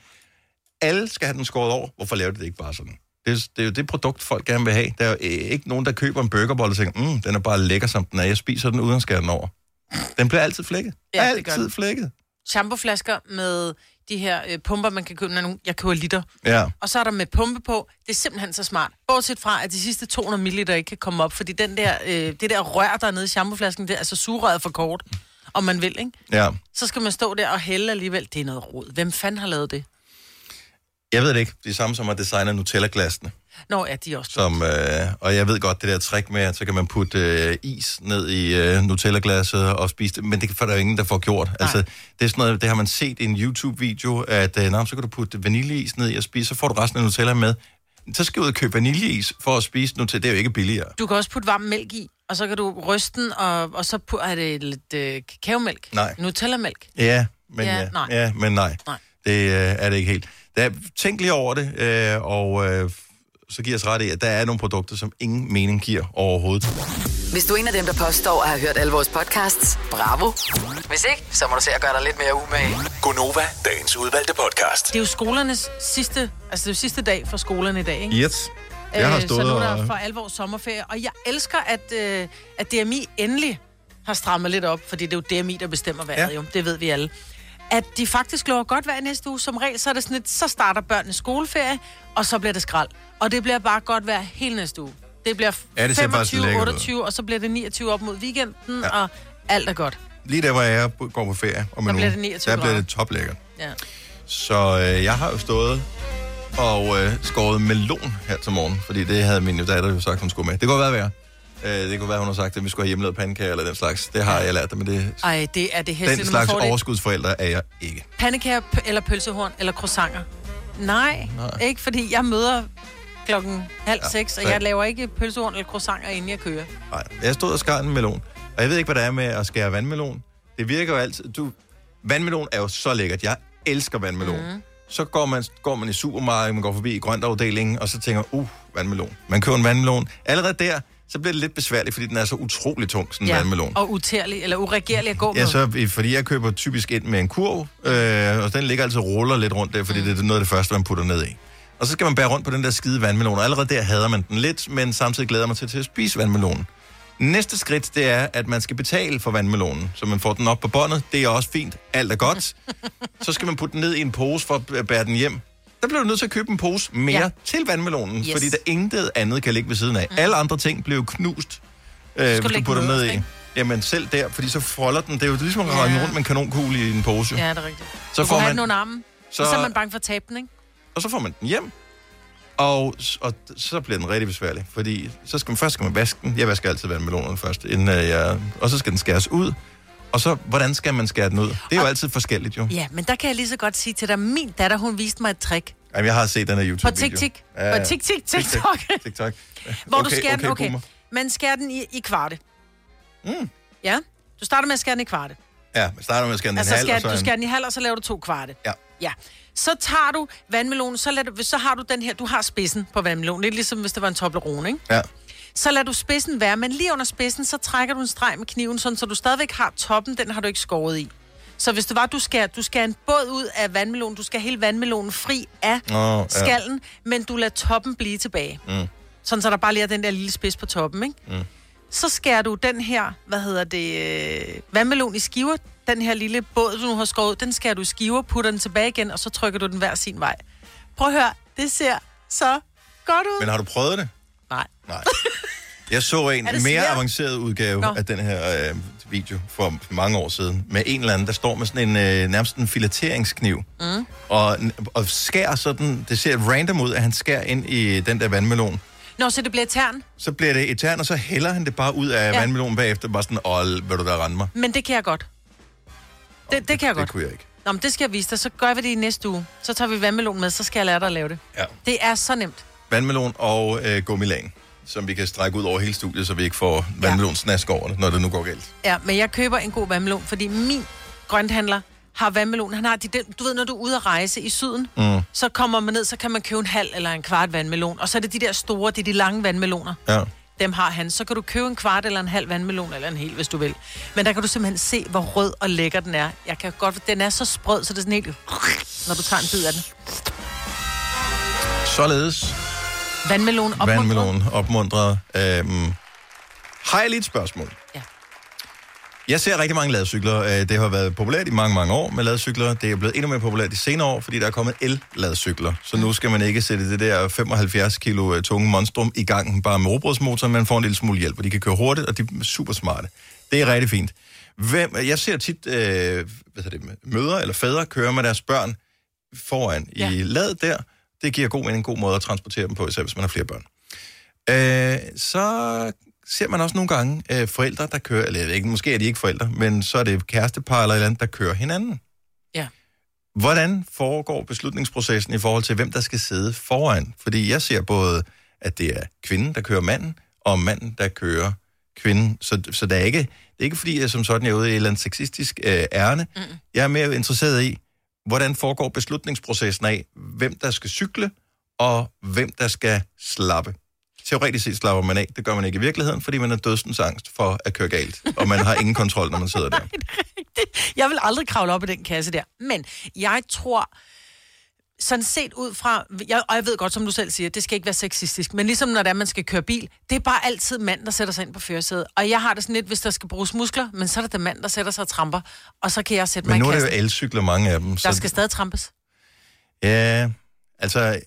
Alle skal have den skåret over. Hvorfor laver de det ikke bare sådan? Det, er- det er jo det produkt, folk gerne vil have. Der er jo øh, ikke nogen, der køber en burgerbolle og tænker, mm, den er bare lækker, som den er. Jeg spiser den uden at skære den over. Den bliver altid flækket. Ja, det gør altid den. flækket. Shampooflasker med de her øh, pumper, man kan købe, når nu- jeg køber liter. Ja. Og så er der med pumpe på. Det er simpelthen så smart. Bortset fra, at de sidste 200 ml ikke kan komme op, fordi den der, øh, det der rør, der er nede i shampooflasken, det er altså sugerøret for kort, om man vil, ikke? Ja. Så skal man stå der og hælde alligevel. Det er noget rod. Hvem fanden har lavet det? Jeg ved det ikke. De samme, som har designet Nutella-glassene. Nå, ja, de er også. Som, øh, og jeg ved godt, det der trick med, at så kan man putte øh, is ned i øh, Nutella-glasset og spise det, men det får der jo ingen, der får gjort. Nej. Altså, det er sådan noget, det har man set i en YouTube-video, at øh, nå, så kan du putte vaniljeis ned i og spise, så får du resten af Nutella med. Så skal du ud og købe vaniljeis for at spise Nutella. Det er jo ikke billigere. Du kan også putte varm mælk i, og så kan du ryste den, og, og så pu- er det lidt øh, kakaomælk. Nej. Nutella-mælk. Ja, men ja, Ja, ja, nej. nej. Ja, men nej. nej. Nej. Det øh, er det ikke helt. Der, tænk lige over det, øh, og øh, så giver os ret i, at der er nogle produkter, som ingen mening giver overhovedet. Hvis du er en af dem, der påstår at have hørt alle vores podcasts, bravo. Hvis ikke, så må du se at gøre dig lidt mere umage. Gonova, dagens udvalgte podcast. Det er jo skolernes sidste, altså det er jo sidste dag for skolerne i dag, ikke? Yes. Jeg har Øh, stået så nu er der og- for alvor sommerferie, og jeg elsker, at, øh, at DMI endelig har strammet lidt op, fordi det er jo DMI, der bestemmer vejret, Ja. ja. jo. Det ved vi alle. At de faktisk lover godt vejr næste uge. Som regel, så er det sådan lidt, så starter børnene skoleferie, og så bliver det skrald. Og det bliver bare godt vejr hele næste uge. Det bliver Ja, det ser faktisk 25, lækkert ud. 28, og så bliver det 29 op mod weekenden, ja. og alt er godt. lige der, hvor jeg går på ferie om Der en bliver uge, det 29 der bliver grader. det toplækkert. Ja. Så øh, jeg har jo stået og øh, skåret melon her til morgen, fordi det havde min datter jo sagt, hun skulle med. Det kunne godt være værre. Øh, det kunne være, hun har sagt, at vi skulle have hjemmelavet pandekager eller den slags. Det har jeg lært dig, men det, Ej, det er det hæste, den når man slags får det. overskudsforældre er jeg ikke. Pandekager p- eller pølsehorn eller croissanter? Nej, Nej. Nej, ikke fordi jeg møder klokken halv Ja, seks, og så- jeg laver ikke pølsehorn eller croissanter, inden jeg kører. Nej, jeg stod og skar en melon. Og jeg ved ikke, hvad der er med at skære vandmelon. Det virker jo altid... Du, vandmelon er jo så lækkert. Jeg elsker vandmelon. Mm. Så går man, går man i supermarkedet, man går forbi i grøntafdelingen, og så tænker uh, vandmelon. Man køber en vandmelon. Allerede der, så bliver det lidt besværligt, fordi den er så utrolig tung, sådan en ja. vandmelon. Og utærlig, eller uregerlig at gå med. Ja, så, fordi jeg køber typisk ind med en kurv, øh, og den ligger altid og ruller lidt rundt der, fordi mm. det er noget af det første, man putter ned i. Og så skal man bære rundt på den der skide vandmelon, og allerede der hader man den lidt, men samtidig glæder man sig til at spise vandmelonen. Næste skridt, det er, at man skal betale for vandmelonen, så man får den op på båndet. Det er også fint. Alt er [laughs] godt. så skal man putte den ned i en pose for at bære den hjem. Der bliver du nødt til at købe en pose mere ja. Ja. til vandmelonen, yes. Yes. fordi der intet andet kan ligge ved siden af. Mm. Alle andre ting bliver jo knust øh, hvis du du lægge putter den den ned nederst, i. Jamen selv der, fordi så folder den. Det er jo ligesom at rende rundt med en kanonkugle i en pose. Ja, Ja. det er rigtigt. Så Så får får man... man- den under armen, så- så... og så er man bange for at tabe den, ikke? Og så får man den hjem. Og, og så bliver den rigtig besværlig, fordi så skal man, først skal man vaske den. Jeg vasker altid vandmelonerne først, inden øh, jeg, og så skal den skæres ud. Og så, hvordan skal man skære den ud? Det er jo altid forskelligt, jo. Ja, men der kan jeg lige så godt sige til dig, min datter, hun viste mig et trick. Jamen, jeg har set den her På YouTube-video. tik-tik. På tik-tik, TikTok. TikTok. Hvor okay, du skærer den, okay. Man skærer den i, i kvarte. Mm. Ja, du starter med at skære den i kvarte. Ja, man starter med at skære den altså, i halv, skærer, og så du en- skærer den i halv, og så laver du to kvarte. Ja. Ja. Så tager du vandmelonen, så, lader du, så har du den her, du har spidsen på vandmelonen. Lidt ligesom hvis det var en Toblerone, ikke? Ja. Så lader du spidsen være, men lige under spidsen, så trækker du en streg med kniven, sådan, så du stadigvæk har toppen, den har du ikke skåret i. Så hvis du var, du skal, du skal en båd ud af vandmelonen, du skal hele vandmelonen fri af Nå, ja. skallen, men du lader toppen blive tilbage. Mm. Sådan, så der bare lige er den der lille spids på toppen, ikke? Mm. Så skærer du den her, hvad hedder det, øh, vandmelon i skiver. Den her lille båd, du nu har skåret, ud, den skærer du i skiver, putter den tilbage igen, og så trykker du den hver sin vej. Prøv at høre, det ser så godt ud. Men har du prøvet det? Nej. Nej. Jeg så en Er det mere svært? avanceret udgave Nå. Nå. af den her øh, video for mange år siden, med en eller anden, der står med sådan en øh, nærmest en fileteringskniv, Mm. og, og skærer sådan, det ser random ud, at han skærer ind i den der vandmelon. Nå, så det bliver tern. Så bliver det etern, og så hælder han det bare ud af ja. Ja. vandmelonen bagefter, bare sådan, åh, vil du da rende mig? Men det kan jeg godt. Det, det kan jeg Det godt. kunne jeg ikke. Nå, men det skal jeg vise dig. Så gør vi det i næste uge. Så tager vi vandmelon med, så skal jeg lære dig at lave det. Ja. Det er så nemt. Vandmelon og øh, gummilan, som vi kan strække ud over hele studiet, så vi ikke får vandmelonsnask over det, når det nu går galt. Ja, men jeg køber en god vandmelon, fordi min grønthandler har vandmelon. Han har de, den- du ved, når du er ude at rejse i syden, Mm. så kommer man ned, så kan man købe en halv eller en kvart vandmelon. Og så er det de der store, det er de lange vandmeloner. Ja. Dem har han. Så kan du købe en kvart eller en halv vandmelon, eller en hel, hvis du vil. Men der kan du simpelthen se, hvor rød og lækker den er. Jeg kan godt, den er så sprød, så det er sådan helt... Når du tager en bid af den. Således. Vandmelon opmuntrer. Vandmelon opmuntrer. Øhm, har jeg lige et spørgsmål? Ja. Jeg ser rigtig mange ladcykler. Øh, Det har været populært i mange, mange år med ladcykler. Det er blevet endnu mere populært de senere år, fordi der er kommet el-ladcykler. Så nu skal man ikke sætte det der 75 kilo øh, tunge monstrum i gang bare med robotsmotoren. Man får en lille smule hjælp, og de kan køre hurtigt, og de er super smarte. Det er rigtig fint. Hvem, jeg ser tit øh, hvad hedder det, mødre eller fædre køre med deres børn foran ja. i ladet der. Det giver god mening, en god måde at transportere dem på, især hvis man har flere børn. Øh, så ser man også nogle gange øh, forældre, der kører, eller jeg ved ikke, måske er de ikke forældre, men så er det kærestepar eller et eller andet, der kører hinanden. Ja. Hvordan foregår beslutningsprocessen i forhold til, hvem der skal sidde foran? Fordi jeg ser både, at det er kvinden, der kører manden, og manden, der kører kvinden. Så, så det, er ikke, det er ikke, fordi jeg som sådan er ude i et eller andet sexistisk øh, ærne. Mm. Jeg er mere interesseret i, hvordan foregår beslutningsprocessen af, hvem der skal cykle, og hvem der skal slappe. Teoretisk set slapper man af. Det gør man ikke i virkeligheden, fordi man er dødsens angst for at køre galt. Og man har ingen kontrol, når man [laughs] sidder der. Jeg vil aldrig kravle op i den kasse der. Men jeg tror, sådan set ud fra, jeg, og jeg ved godt, som du selv siger, det skal ikke være sexistisk, men ligesom når det er, man skal køre bil, det er bare altid mand, der sætter sig ind på førersædet. Og jeg har det sådan lidt, hvis der skal bruges muskler, men så er det den mand, der sætter sig og tramper, og så kan jeg sætte Men mig nu i er det kassen. jo elcykler, mange af dem. Der skal stadig trampes. Ja, altså,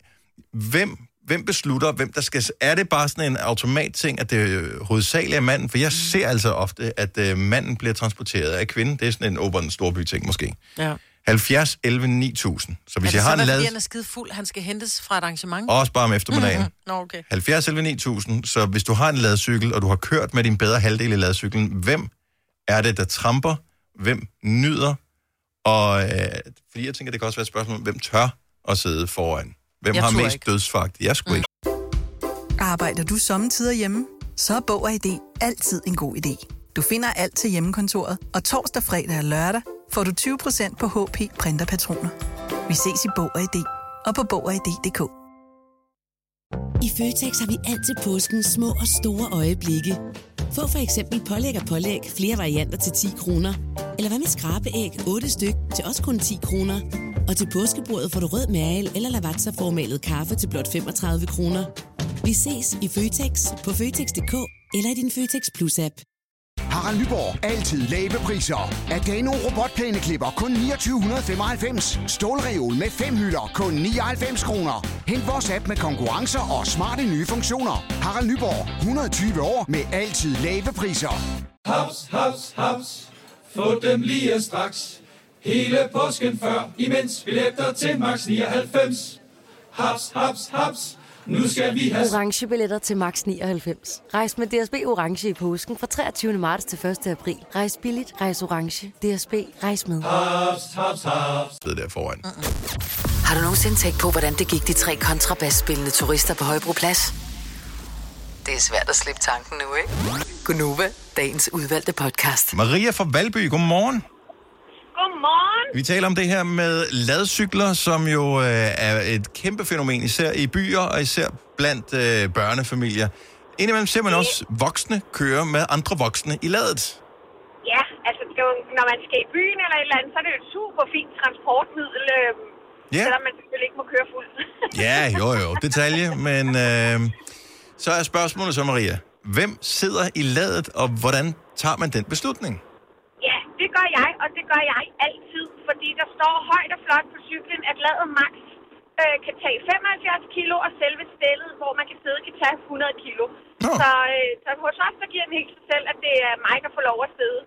hvem, hvem beslutter, hvem der skal... Er det bare sådan en automatting, at det øh, hovedsageligt er manden? For Mm. jeg ser altså ofte, at øh, manden bliver transporteret af kvinden. Det er sådan en open storby ting måske. Ja. 70 11 9000. Så hvis er jeg det har en sådan, at fordi lad, han er skide fuld, han skal hentes fra et arrangement? Mhm. også bare om eftermiddagen, Nå, okay. 70 11 9000, så hvis du har en ladcykel, og du har kørt med din bedre halvdel i ladcyklen, hvem er det, der tramper? Hvem nyder? Og øh, fordi jeg tænker, det kan også være et spørgsmål, hvem tør at sidde foran? Hvem Jeg har tør mest ikke. Mm. dødsfagt? Jeg skulle ikke. Arbejder du sommetider hjemme? Så er Bog og ID altid en god idé. Du finder alt til hjemmekontoret, og torsdag, fredag og lørdag får du 20% på HP printerpatroner. Vi ses i Bog og ID og på Bog og ID.dk. I Føtex har vi altid påsken små og store øjeblikke. Få for eksempel pålæg og pålæg flere varianter til 10 kroner. Eller hvad med skrabeæg 8 styk til også kun 10 kroner. Og til påskebordet får du rød mal eller lavatserformalet kaffe til blot 35 kroner. Vi ses i Føtex på Føtex.dk eller i din Føtex Plus-app. Harald Nyborg. Altid lave priser. Adano robotplæneklipper kun 2995. Stålreol med fem hylder kun 99 kroner. Hent vores app med konkurrencer og smarte nye funktioner. Harald Nyborg. 120 år med altid lave priser. Haps, haps, haps. Få dem lige straks. Hele påsken før, imens billetter til max 99. Haps, haps, haps. Nu skal vi have... Orange billetter til max 99. Rejs med DSB Orange i påsken fra 23. marts til 1. april. Rejs billigt, rejs orange. DSB, rejs med. Haps, haps, haps. Sidde der foran. Har du nogensinde tænkt på, hvordan det gik de tre kontrabasspillende turister på Højbroplads? Det er svært at slippe tanken nu, ikke? Gunova, dagens udvalgte podcast. Maria fra Valby, godmorgen. Godmorgen. Vi taler om det her med ladcykler, som jo øh, er et kæmpe fænomen, især i byer og især blandt øh, børnefamilier. Indimellem ser man også voksne køre med andre voksne i ladet. Ja, altså det er jo, når man skal i byen eller et eller andet, så er det jo et super fint transportmiddel, øh, Ja. selvom man selvfølgelig ikke må køre fuldt. Ja, jo jo, detalje, men øh, så er spørgsmålet så, Maria. Hvem sidder i ladet, og hvordan tager man den beslutning? ja, det gør jeg, og det gør jeg altid, fordi der står højt og flot på cyklen, at ladet max øh, kan tage 75 kilo, og selve stillet, hvor man kan sidde, kan tage 100 kilo. Så, øh, så hos os, der giver den helt sig selv, at det er mig, der får lov at sidde.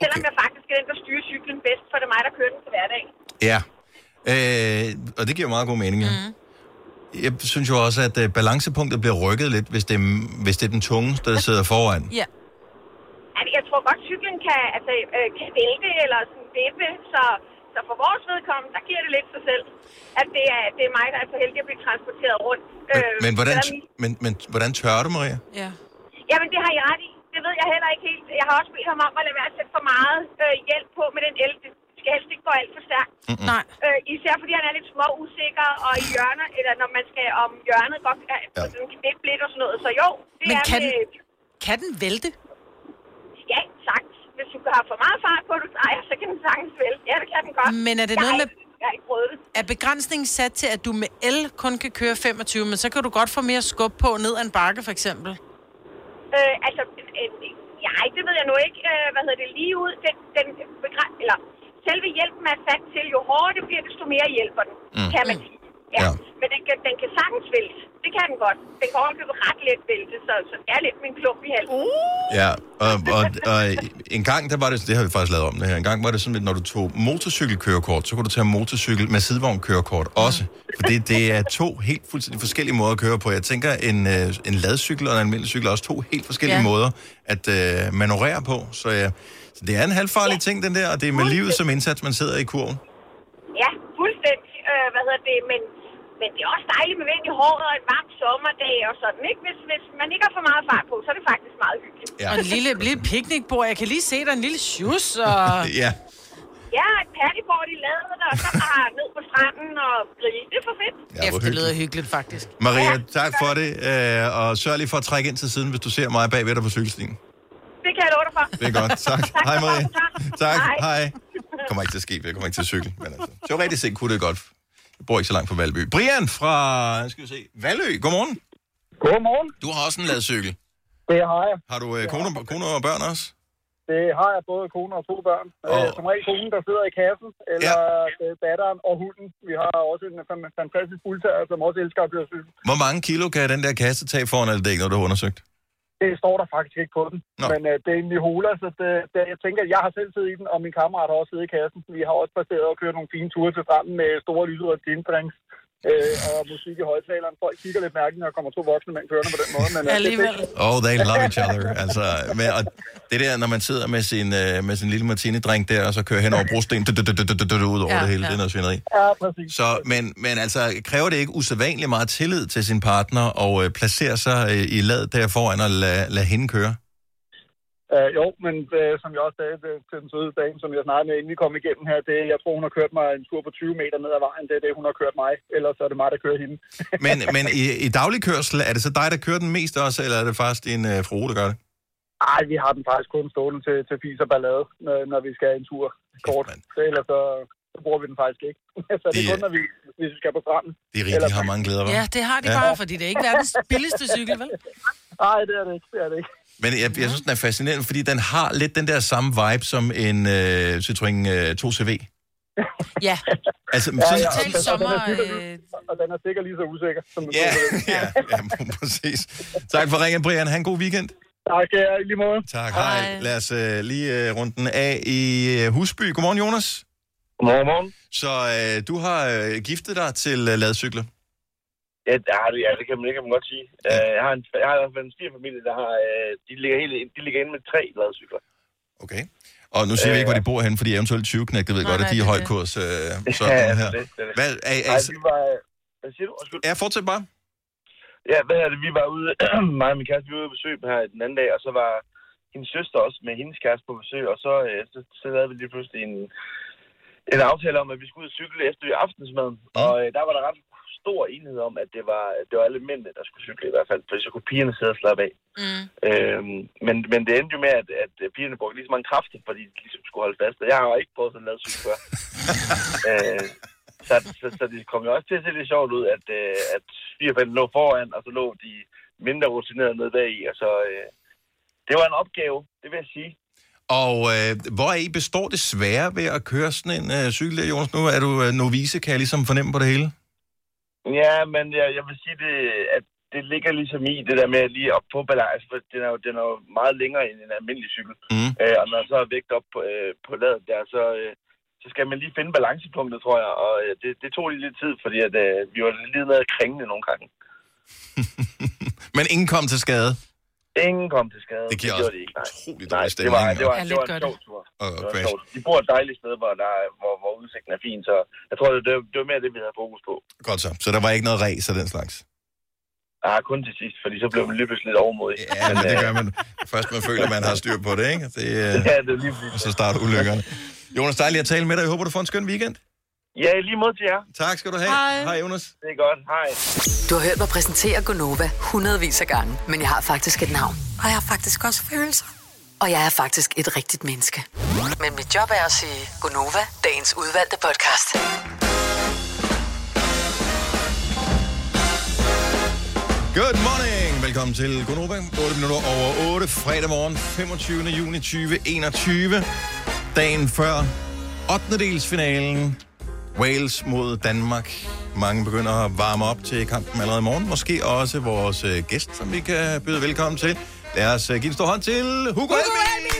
Selvom jeg faktisk er den, der styrer cyklen bedst, for det er mig, der kører den til hverdag. Ja, øh, og det giver meget god mening. Mm. Jeg synes jo også, at øh, balancepunktet bliver rykket lidt, hvis det, er, hvis det er den tunge, der sidder foran. Ja. Altså, jeg tror godt, cyklen kan, altså, øh, kan vælte eller sådan vippe, så, så for vores vedkommende, der giver det lidt sig selv, at det er, det er mig, der er så heldig at blive transporteret rundt. Øh, Men, Men hvordan, men, men hvordan tør du, Maria? Ja. Jamen, det har jeg ret i. Det ved jeg heller ikke helt. Jeg har også bedt ham om at lade være at sætte for meget øh, hjælp på med den el. Det skal helst ikke gå alt for stærkt. Mm-mm. Nej. Øh, især fordi han er lidt små usikker, og i hjørner, eller når man skal om hjørnet, godt ja. altså, sådan knippe lidt og sådan noget. Så jo, det Men er kan med, Kan den vælte? Ja, sagt. Hvis du har for meget fart på, du drejer, så kan den sagtens vælte. Ja, det kan den godt. Men er det jeg noget har med... Ikke, jeg har ikke prøvet det. Er begrænsningen sat til, at du med el kun kan køre 25, men så kan du godt få mere skub på ned ad en bakke, for eksempel? Øh, altså, øh, nej, det ved jeg nu ikke. Øh, hvad hedder det? Lige ud. Den, den begræ- eller, selve hjælpen er sat til, jo hårdere det bliver, desto mere hjælper den, Mm. mm. kan man sige. Ja. ja. Men den kan, den kan sagtens vælte. Det kan den godt. Den kan overkøbe ret let vælte, så, så det er lidt min klump i halsen. Uh. Ja, og, og, og en gang, der var det, det har vi faktisk lavet om det her, en gang var det sådan, at når du tog motorcykelkørekort, så kunne du tage motorcykel med sidevognkørekort også. Fordi det er to helt fuldstændig forskellige måder at køre på. Jeg tænker, en, øh, en ladcykel og en almindelig cykel er også to helt forskellige Ja. ja. måder at øh, manøvrere på. Så, øh, så det er en halvfarlig ja. ting, den der, og det er med livet som indsats, man sidder i kurven. Ja, fuldstændig. Øh, hvad hedder det? Men, men det er også dejligt med vind i håret og en varm sommerdag og sådan, ikke? Hvis, hvis man ikke har for meget fart på, så er det faktisk meget hyggeligt. Ja. Og en lille, lille picnicbord. Jeg kan lige se, der er en lille [laughs] sjus, og... Ja. Ja, et pattyboard i ladet, og så bare ned på stranden og grille. Det er for fedt. Ja, hvor det lyder hyggeligt, faktisk. Maria, tak for det, øh, og sørg lige for at trække ind til siden, hvis du ser mig bagved dig på cykelstien. Det kan jeg love dig for. Det er godt. Tak. Hej, Marie. Tak. Hej. Hej. Det kommer ikke til at ske, for jeg kommer ikke til at cykle. Men altså, teoretisk set kunne det godt. Jeg bor ikke så langt fra Valby. Brian fra, nu skal vi se, Valø. Godmorgen. Godmorgen. Du har også en ladcykel. Det har jeg. Har du øh, kone, kone og børn også? Det har jeg både kone og to børn. Oh. Som regel konen, der sidder i kassen, eller ja. datteren og hunden. Vi har også en fan- fantastisk fuldtager, som også elsker at køre cykel. Hvor mange kilo kan den der kasse tage foran alt dæk, når du har undersøgt? Det står der faktisk ikke på den. Nå. Men øh, det er en Nihola, så det, det, jeg tænker, at jeg har selv siddet i den, og min kammerat har også siddet i kassen. Vi har også passeret og kørt nogle fine ture til stranden med store lyserøde gindbrings. Øh, og musik i højtaleren. Folk kigger lidt mærkeligt, når der kommer to voksne mænd kørende på den måde. Men, øh, det- Alligevel. Oh, they love each other. Altså, men, og det der, når man sidder med sin, øh, med sin lille martini-drink der, og så kører hen over brosten du- du- du- du- du- du- du- ud over Ja, det hele, ja. det er noget svineri. Ja, præcis. Så, men, men altså, kræver det ikke usædvanligt meget tillid til sin partner, og øh, placere sig øh, i lad der foran og lade lad hende køre? Øh, jo, men øh, som jeg også sagde øh, til den søde dame, som jeg snakkede med, inden vi kom igennem her, det, jeg tror, hun har kørt mig en tur på 20 meter ned ad vejen. Det er det, hun har kørt mig. Ellers er det mig, der kører hende. Men, men i, i daglig kørsel, er det så dig, der kører den mest også, eller er det faktisk din øh, frue, der gør det? Nej, vi har den faktisk kun stående til, til fis og ballade, når, når vi skal en tur kort. Så ellers så, så bruger vi den faktisk ikke. [laughs] så det er kun, når vi, hvis vi skal på stranden. Det er rigtigt, de har mange glæder, hva'? Ja, det har de ja. bare, fordi det er ikke verdens billigste cykel, vel? Nej, det er det ikke. Det er det ikke. Men jeg, jeg synes, den er fascinerende, fordi den har lidt den der samme vibe som en øh, Citroën øh, 2CV. Ja. Altså, Ja, så- ja, [laughs] så- og, den, og, den er sikkert, og den er sikkert lige så usikker, som den Ja, yeah. ja, ja, [laughs] præcis. Tak for ringen, Brian. Ha' en god weekend. Tak, ja, i lige måde. Tak, hej. hej. Lad os øh, lige øh, runde den af i øh, Husby. Godmorgen, Jonas. Godmorgen, morgen. Så øh, du har øh, giftet dig til øh, ladcykler. Ja, det, har det- ja, det kan man, det kan man godt sige. Øh, jeg har en, jeg har i hvert fald en svigerfamilie, der har, øh, de, ligger hele, de ligger inde med tre ladcykler. Okay. Og nu siger øh, vi ikke, hvor de bor henne, fordi eventuelt 20 knægte ved Nej, godt, at nej, de er i det er høj det. kurs. [laughs] Øh, så Ja, ja, det her. er det, det er det. Hvad, er, er, Nej, er, vi var, øh, hvad siger du? Undskyld. Ja, fortsæt bare. Ja, hvad er det? Vi var ude, [clears throat] mig og min kæreste, vi var ude på besøg her den anden dag, og så var hendes søster også med hendes kæreste på besøg, og så, øh, så, så lavede vi lige pludselig en, en aftale om, at vi skulle ud og cykle efter aftensmaden. Mm. Og øh, der var der ret stor enighed om, at det var, det var alle mændene, der skulle cykle i hvert fald, for så kunne pigerne sidde og slappe af. Mm. Øhm, men, men det endte jo med, at, at pigerne brugte lige så mange kræfter, fordi de ligesom skulle holde fast. Og jeg har jo ikke prøvet sådan noget cykel før. øh, så, så, så det kom jo også til at se lidt sjovt ud, at, øh, at firefælden lå foran, og så lå de mindre rutinerede nede bagi. Og så, øh, det var en opgave, det vil jeg sige. Og øh, hvor er I består det svære ved at køre sådan en øh, cykel der, Jonas? Nu er du øh, novice, kan jeg ligesom fornemme på det hele. Ja, men jeg, jeg vil sige, det, at det ligger ligesom i det der med at lige op på balance, for den er, jo, den er jo meget længere end en almindelig cykel. Mm. Øh, og når jeg så er vægt op på, øh, på ladet der, så, øh, så skal man lige finde balancepunktet, tror jeg. Og øh, det, det tog lige lidt tid, fordi at, øh, vi var lige nede og kringende nogle gange. Men ingen kom til skade. Ingen kom til skade. Det giver gjorde også de ikke, nej. utrolig Nej, dårlig det var, det stemning. var, og- det var en sjov tur. og Det var en crash. sjov tur. De bor et dejligt sted, hvor, der, er- hvor, hvor udsigten er fin, så jeg tror, det, det var mere det, vi havde fokus på. Godt så. Så der var ikke noget ræs og den slags. Ah, kun til sidst, fordi så blev man lige pludselig lidt overmodig. Ja, men øh, det gør man. Først man føler, man har styr på det, ikke? Det, øh, Ja, det er lige præcis. og så starter ulykkerne. Jonas, dejligt at tale med dig. Jeg håber, du får en skøn weekend. Ja, lige mod til jer. Tak skal du have. Hej. Hej, Jonas. Det er godt. Hej. Du har hørt mig præsentere Gonova hundredvis af gange, men jeg har faktisk et navn. Og jeg har faktisk også følelser. Og jeg er faktisk et rigtigt menneske. Men mit job er at sige Gonova, dagens udvalgte podcast. Good morning. Velkommen til Gunova. 8 minutter over 8. Fredag morgen, 25. juni 2021. Dagen før 8. delsfinalen. Wales mod Danmark. Mange begynder at varme op til kampen allerede i morgen. Måske også vores øh, gæst, som vi kan byde velkommen til. Lad os øh, give en stor hånd til Hugo, Hugo Helmi.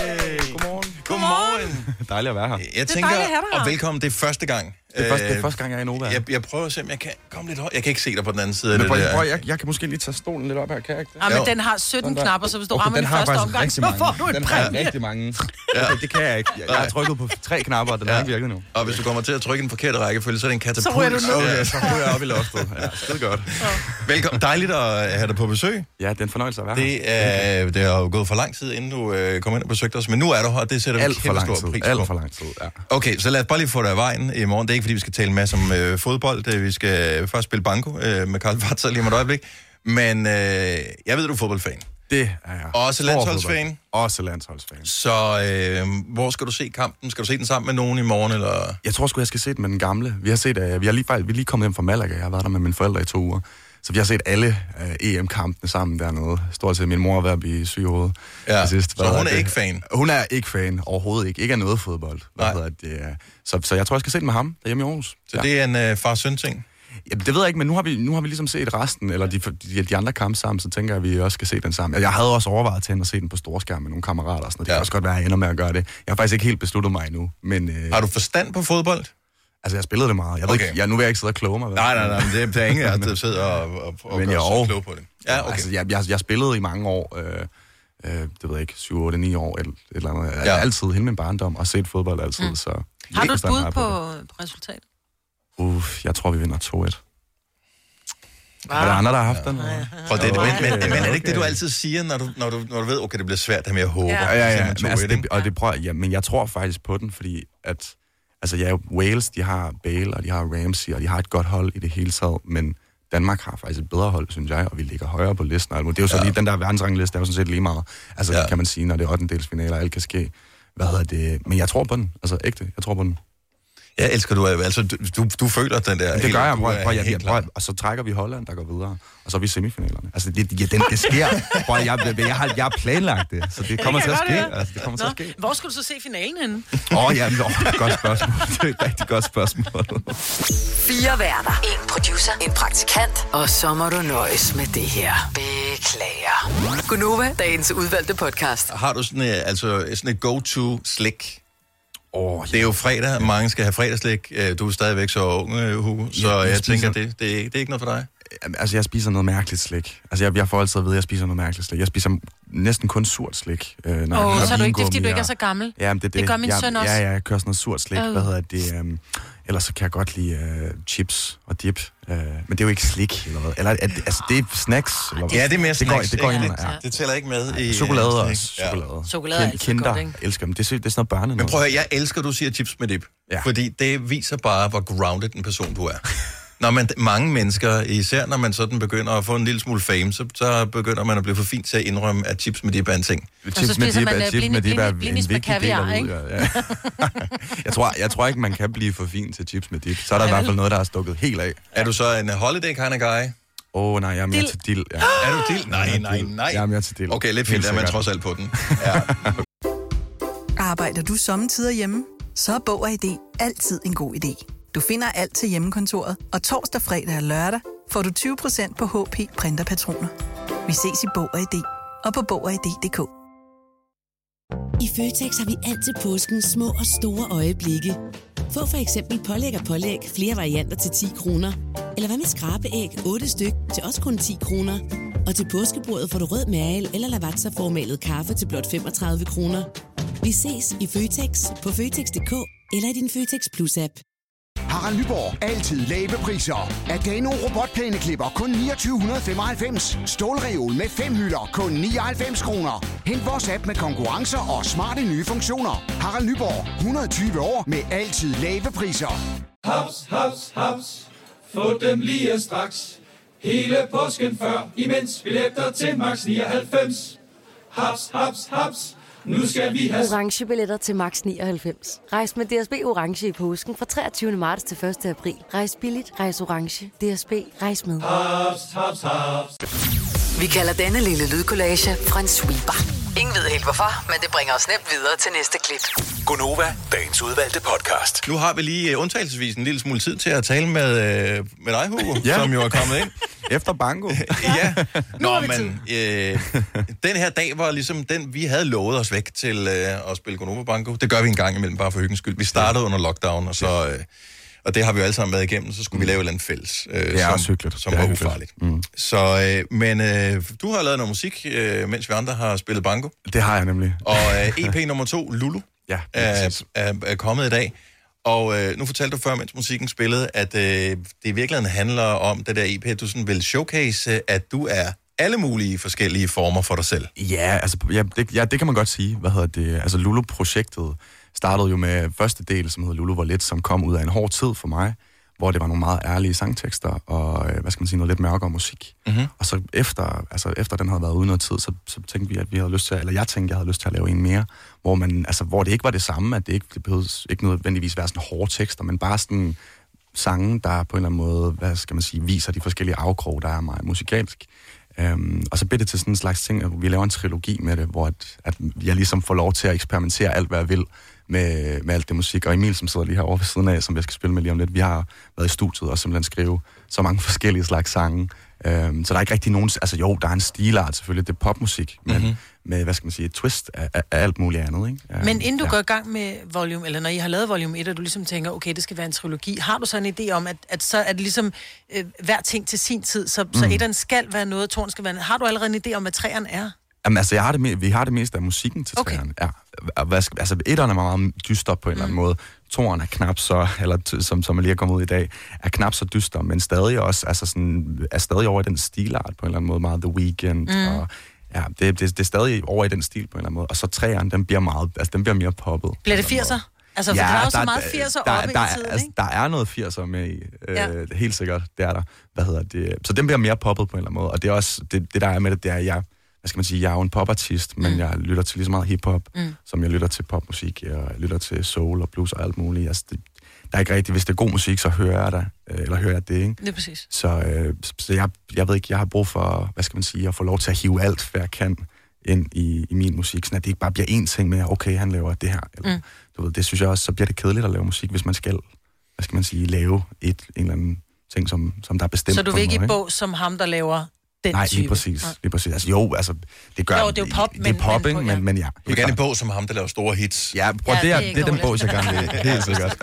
Hey. Godmorgen. Godmorgen. Dejligt at være her. Jeg tænker, og velkommen, det er første gang. Det er første- det er Øh, første gang, jeg er i Nova. Jeg, jeg prøver at se, om jeg kan komme lidt højt. Jeg kan ikke se dig på den anden side af Men det prøv, der. prøv, jeg, jeg kan måske lige tage stolen lidt op her, kan jeg ikke? Ja, Ah, men den har 17 knapper, så hvis du rammer den første omgang, så får du en Den har præmie. rigtig [laughs] mange. Okay, det kan jeg ikke. Jeg, jeg har trykket på tre knapper, og den har ikke virket nu. Og hvis du kommer til at trykke i den forkerte rækkefølge, så er det en katapult. Så ryger du ned. Ja, Okay, så ryger jeg op i loftet. Ja, skide godt. Velkommen. Dejligt at have dig på besøg. Ja, det er en fornøjelse at være her. Det, er, det har jo gået for lang tid, inden du øh, kom ind og besøgte os, men nu er du her, og det sætter vi Alt for kæmpe lang stor tid. pris på. Alt for lang tid, ja. Okay, så lad os bare lige få dig af vejen i morgen. Det er ikke, fordi vi skal tale en masse om øh, fodbold. Øh, Vi skal først spille banko øh, med Karl Vatzer lige om et øjeblik. Men øh, jeg ved, du er fodboldfan. Det er jeg. Også Stor landsholdsfan? fodbold. Også landsholdsfan. Så øh, hvor skal du se kampen? Skal du se den sammen med nogen i morgen? Eller? Jeg tror sgu, jeg skal se den med den gamle. Vi har set, uh, vi har lige, faktisk- vi er lige kommet hjem fra Malaga. Jeg har været der med mine forældre i to uger. Så vi har set alle uh, EM-kampene sammen dernede. Stort set min mor er ved at blive syg i hovedet. Ja, til så Hvad hun hedder er det? ikke fan? Hun er ikke fan overhovedet ikke. Ikke af øh, noget fodbold. Hvad hedder det? Så, så jeg tror, jeg skal se den med ham derhjemme i Aarhus. Så det er en øh, far-søn-ting? Ja, det ved jeg ikke, men nu har vi, nu har vi ligesom set resten, eller de, de, de andre kampe sammen, så tænker jeg, at vi også skal se den sammen. Jeg havde også overvejet til at se den på storskærm med nogle kammerater og sådan noget. Det ja. kan også godt være, at jeg ender med at gøre det. Jeg har faktisk ikke helt besluttet mig endnu. Men, øh, har du forstand på fodbold? Altså, jeg spillede det meget. Jeg, okay. ved ikke, jeg nu vil jeg ikke sidde og kloge mig. vel? Nej, nej, nej, men det er- der er [laughs] ingen af os, der sidder og- og- og Men gør jeg sig over- klog på det. Ja, okay. Altså, jeg, jeg, jeg spillede i mange år, øh, øh, det ved jeg ikke, 7, 8, 9 år, eller et eller andet. Jeg ja. altid, hele min barndom, og set fodbold altid, Mm. mm. så... Har du et Forstand bud jeg på, på resultatet? Uff, jeg tror, vi vinder 2-1. Ah. Er der andre, der har haft den? Prøv, det, Okay. men, men, men, er det ikke det, du altid siger, når du, når du, når du ved, okay, det bliver svært, det med jeg håber? Ja, ja, ja. Simpelthen Men, tog altså, et, ikke? det, og det prøver, ja, men jeg tror faktisk på den, fordi at, altså, ja, Wales, de har Bale, og de har Ramsey, og de har et godt hold i det hele taget, men Danmark har faktisk et bedre hold, synes jeg, og vi ligger højere på listen. og alt muligt. Det er jo så ja. lige den der verdensrangliste, der er jo sådan set lige meget. Altså, ja. kan man sige, når det er 8. og alt kan ske. Hvad hedder det? Men jeg tror på den. Altså, ægte. Jeg tror på den. Jeg elsker, du, er- altså, du, du føler den der... Det helt- gør jeg, du prøv, er prøv, jeg, helt jeg, klar. prøv, og så trækker vi Holland, der går videre, og så er vi i semifinalerne. Altså, det, ja, [laughs] den, det sker. Prøv, jeg, jeg, jeg, har, jeg har planlagt det, så det kommer kan til jeg godt at ske. høre. Altså, det kommer til at ske. Nå, hvor skulle du så se finalen henne? Åh, oh, ja, nå, godt spørgsmål. Det er et rigtig godt spørgsmål. Fire værter. En producer. En praktikant. Og så må du nøjes med det her. Beklager. Gunova, dagens udvalgte podcast. Har du sådan, øh, altså, sådan et go-to-slik? Oh, det er jo fredag, mange skal have fredagslik. Øh, Du er stadigvæk så ung, øh, Hugo, så Ja, ja, jeg jeg, jeg spiser- tænker, det, det, er- det er ikke noget for dig. Jamen, Altså, jeg spiser noget mærkeligt slik. Altså, jeg, jeg får altid at vide, at jeg spiser noget mærkeligt slik. Jeg spiser næsten kun surt slik. Øh, når jeg Åh, har så er du ikke det, fordi vingummi du ikke er og- så gammel. Jamen, det, er det. Det gør min jeg, søn også. Ja, ja, jeg kører sådan noget surt slik. Øh. Hvad hedder det? Um, ellers så kan jeg godt lide øh, chips og dip. Øh, men det er jo ikke slik eller hvad. Eller, er det, altså, det er snacks. Eller, hvad? Ja, det er mere det går, snacks, det går ikke? ind, Det- ja. det tæller ikke med i, øh, Chokolade snack. også. Ja. Chokolade. Chokolade er Kin- altid Kinder, godt, ikke? elsker dem. Det er, sy- det er sådan noget børne Men prøv at høre, jeg elsker, at du siger chips med dip. Ja. Fordi det viser bare, hvor grounded en person du er. Når man, mange mennesker, især når man sådan begynder at få en lille smule fame, så, så begynder man at blive for fint til at indrømme, at chips med dip er en ting. Chips så med spiser dip er- man, øh, chips med blini- dip er en blinis med vigtig del af kaviar, livet, ikke? ja. [laughs] Jeg tror, jeg tror ikke, man kan blive for fin til chips med dip. Så er der i Nej, hvert vel? fald noget, der er stukket helt af. Er du så en holiday kind of guy? Åh, oh, nej, jeg er mere Dild. til dild. Ja. [gasps] Er du dild? Nej, nej, nej. Jeg er mere til dild. Okay, lidt Helt fint, er man sikkert. trods alt på den. Arbejder du sommetider hjemme? Så er Bog og ID altid en god idé. Du finder alt til hjemmekontoret, og torsdag, fredag og lørdag får du 20% på HP printerpatroner. Vi ses i Bog og ID og på Bog og ID.dk. I Føtex har vi altid påsken små og store øjeblikke. Få for eksempel pålæg og pålæg flere varianter til 10 kroner. Eller hvad med skrabeæg 8 styk til også kun 10 kroner. Og til påskebordet får du rød mal eller lavatserformalet kaffe til blot 35 kroner. Vi ses i Føtex på Føtex.dk eller i din Føtex Plus-app. Harald Nyborg. Altid lave priser. Adano robotplæneklipper kun 2995. Stålreol med fem hylder kun 99 kroner. Hent vores app med konkurrencer og smarte nye funktioner. Harald Nyborg. 120 år med altid lave priser. Haps, haps, haps. Få dem lige straks. Hele påsken før, imens billetter til max 99. Haps, haps, haps. Nu skal vi have... Orange billetter til max 99. Rejs med DSB Orange i påsken fra 23. marts til 1. april. Rejs billigt, rejs orange. DSB, rejs med. Haps, haps, haps. Vi kalder denne lille lydkollage en sweeper. Ingen ved helt hvorfor, men det bringer os nemt videre til næste klip. Gunova, dagens udvalgte podcast. Nu har vi lige øh, undtagelsesvis en lille smule tid til at tale med, øh, med dig, Hugo, ja. som jo er kommet ind. [laughs] Efter banko. ja. Nå, men øh, den her dag var ligesom den, vi havde lovet os væk til øh, at spille Gonova Banko. Det gør vi en gang imellem, bare for hyggens skyld. Vi startede under lockdown, og så... Øh, og det har vi jo alle sammen været igennem, så skulle vi lave et eller andet fælles, øh, Det er også som, hyggeligt. som Det er var hyggeligt. ufarligt. Mm. Så, øh, men øh, du har lavet noget musik, øh, mens vi andre har spillet banko. Det har jeg nemlig. Og øh, EP nummer to, Lulu, Ja, er, er, er kommet i dag. Og øh, nu fortalte du før, mens musikken spillede, at øh, det i virkeligheden handler om det der EP, du sådan vil showcase, at du er alle mulige forskellige former for dig selv. Ja, altså, ja, det, ja, det kan man godt sige. Hvad hedder det? Altså, Lulu-projektet startede jo med første del, som hedder Lulu var lidt, som kom ud af en hård tid for mig, hvor det var nogle meget ærlige sangtekster og, øh, hvad skal man sige, noget lidt mørkere musik. Mm-hmm. Og så efter, altså efter den havde været ude noget tid, så, så tænkte vi, at vi havde lyst til, at, eller jeg tænkte, at jeg havde lyst til at lave en mere, hvor, man, altså, hvor det ikke var det samme, at det ikke, det behøvede ikke nødvendigvis være sådan hårde tekster, men bare sådan sange, der på en eller anden måde, hvad skal man sige, viser de forskellige afkrog, der er meget musikalsk. Øhm, og så blev det til sådan en slags ting, at vi laver en trilogi med det, hvor at, at jeg ligesom får lov til at eksperimentere alt, hvad jeg vil, med, med alt det musik. Og Emil, som sidder lige herovre ved siden af, som jeg skal spille med lige om lidt, vi har været i studiet og simpelthen skrive så mange [laughs] forskellige slags sange. Øhm, så der er ikke rigtig nogen... Altså jo, der er en stilart selvfølgelig, det er popmusik, men mm-hmm. med, hvad skal man sige, et twist af, af, af alt muligt andet. Ikke? Øhm, Men inden du ja. går i gang med volume, eller når I har lavet volume 1, og du ligesom tænker, okay, det skal være en trilogi, har du så en idé om, at, at så er det ligesom øh, hver ting til sin tid, så, mm. så Mm. etteren skal være noget, toren skal være noget. Har du allerede en idé om, hvad træerne er? Jamen, altså, jeg har det, me- vi har det meste af musikken til okay. træerne. Ja. Og hvad skal- Altså, etteren er meget, meget dyster på en mm. eller anden måde. Toren er knap så, [laughs] eller t- som, som lige er kommet ud i dag, er knap så dyster, men stadig også, altså sådan, er stadig over i den stilart på en eller anden måde, meget The Weeknd, Mm. mm. og ja, det, det, det, er stadig over i den stil på en eller anden måde. Og så træerne, den bliver meget, altså den bliver mere poppet. Bliver det 80'er? Altså, for der er jo så meget 80'er der, op der, i tiden, altså, ikke? der er noget 80'er med i, øh, Ja. ja. helt sikkert, det er der. Hvad hedder det? Så den bliver mere poppet på en eller anden måde, og det er også, det, det der er med det, det er, at jeg, hvad skal man sige, jeg er jo en popartist, men mm. jeg lytter til lige så meget hiphop, Mm. mm. som jeg lytter til popmusik, jeg lytter til soul og blues og alt muligt. Altså, det, der er ikke rigtigt, hvis det er god musik, så hører jeg det, øh, eller hører jeg det, ikke? Det er præcis. Så, øh, så jeg, jeg ved ikke, jeg har brug for, hvad skal man sige, at få lov til at hive alt, hvad jeg kan, ind i, i min musik, så det ikke bare bliver én ting med, okay, han laver det her, eller, Mm. mm. du ved, det synes jeg også, så bliver det kedeligt at lave musik, hvis man skal, hvad skal man sige, lave et, en eller anden ting, som, som der er bestemt Så du på en vil ikke måde, i bog som ham, der laver den Nej, type? lige præcis, lige præcis. Altså jo, altså, det gør... Jo, det er jo pop, det, men- er pop, men- men, men, men ja. Du vil gerne i bog som ham, der laver store hits. Ja, prøv, Ja, det er- det er det er den dårligt. bog, jeg gerne [laughs] vil. Helt sikkert.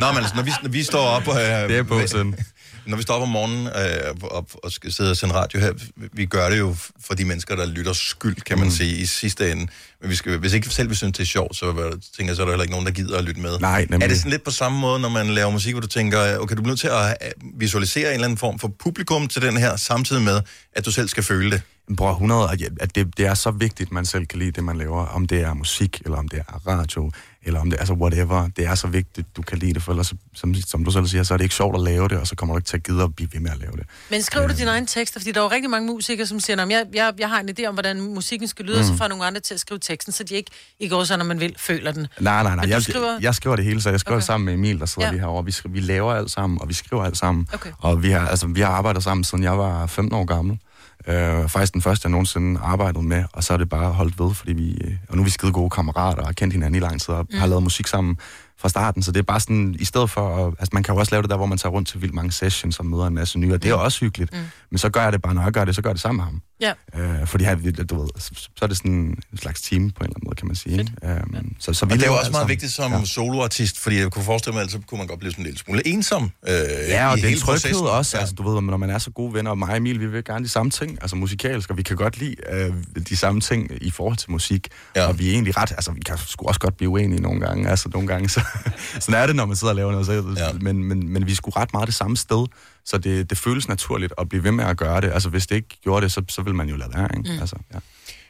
Nå, men altså, når vi, når vi står op... Øh, det er bogsen. [laughs] Når vi står op om morgenen øh, og, og skal sidde og sende radio her, vi gør det jo for de mennesker, der lytter skyld, kan man mm. sige, i sidste ende. Men vi skal, hvis ikke selv vi synes, det er sjovt, så øh, tænker jeg, så er der heller ikke nogen, der gider at lytte med. Nej, nemlig. Er det sådan lidt på samme måde, når man laver musik, hvor du tænker, øh, okay, du bliver nødt til at øh, visualisere en eller anden form for publikum til den her, samtidig med, at du selv skal føle det? Bror, 100, og ja, at det, det er så vigtigt, at man selv kan lide det, man laver. Om det er musik, eller om det er radio, eller om det altså whatever. Det er så vigtigt, du kan lide det, for ellers, som, som du selv siger, så er det ikke sjovt at lave det, og så kommer du ikke til at gide at blive ved med at lave det. Men skriver du dine egne tekster? Fordi der er jo rigtig mange musikere, som siger, at jeg, jeg, jeg har en idé om, hvordan musikken skal lyde, mm. og så Mm. får jeg nogle andre til at skrive teksten, så de ikke, i går så, når man vil, føler den. Nej, nej, nej. Men du Jeg, skriver- skriver... jeg skriver det hele, så jeg skriver okay. det sammen med Emil, der sidder Ja. ja. lige herovre. Vi, skriver, vi laver alt sammen, og vi skriver alt sammen. Okay. Og vi har, altså, vi har arbejdet sammen, siden jeg var 15 år gammel. Øh, faktisk den første, jeg nogensinde arbejdede med, og så er det bare holdt ved, fordi vi... øh, Og nu er vi skide gode kammerater, og har kendt hinanden i lang tid, og Mm. mm. har lavet musik sammen fra starten, så det er bare sådan, i stedet for, at, altså man kan jo også lave det der, hvor man tager rundt til vildt mange sessions og møder en masse nye, og det er også hyggeligt, Mm. mm. men så gør jeg det bare, når jeg gør det, så gør jeg det sammen med ham. Ja. Øh, fordi han, du ved, så, så er det sådan en slags team på en eller anden måde, kan man sige. ikke? Øhm, så, så Og vi det er laver jo alt også meget sammen. vigtigt som øh, ja. soloartist, fordi jeg kunne forestille mig, at så kunne man godt blive sådan en lille smule ensom øh, Ja, og i det er hele en tryghed processen. også. Ja. Altså, du ved, når man er så gode venner, og mig og Emil, vi vil gerne de samme ting, altså musikalsk, og vi kan godt lide øh, de samme ting i forhold til musik. Ja. Og vi er egentlig ret, altså vi kan sgu også godt blive uenige nogle gange, altså nogle gange, så [laughs] sådan er det, når man sidder og laver noget. Så, ja. men, men, men vi er sgu ret meget det samme sted, så det, det føles naturligt at blive ved med at gøre det. Altså hvis det ikke gjorde det, så, så vil man jo lade være, ikke? Mm. Mm. Altså, ja.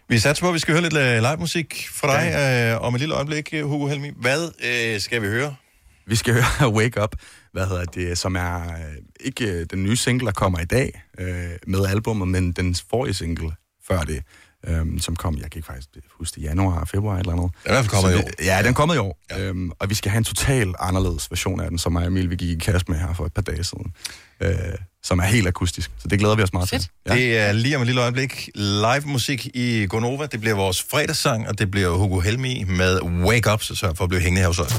Vi satser på, at vi skal høre lidt øh, live musik fra dig ja. øh, om et lille øjeblik, øh, Hugo Helmi. Hvad øh, skal vi høre? Vi skal høre [laughs] Wake Up, hvad hedder det, som er øh, ikke øh, den nye single, der kommer i dag øh, med albummet, men den forrige single før det, øh, som kom, jeg kan ikke faktisk huske det, januar, februar eller noget. Den er i hvert fald kommet Så i det- år. Ja, den kommer i år. Ja. Øhm, og vi skal have en total anderledes version af den, som mig og Emil vi gik i kast med her for et par dage siden, øh, som er helt akustisk. Så det glæder vi os meget til. Ja. Det er lige om et lille øjeblik live musik i Gonova. Det bliver vores fredagssang, og det bliver Hugo Helmi med Wake Up, så sørg for at blive hængende her hos os.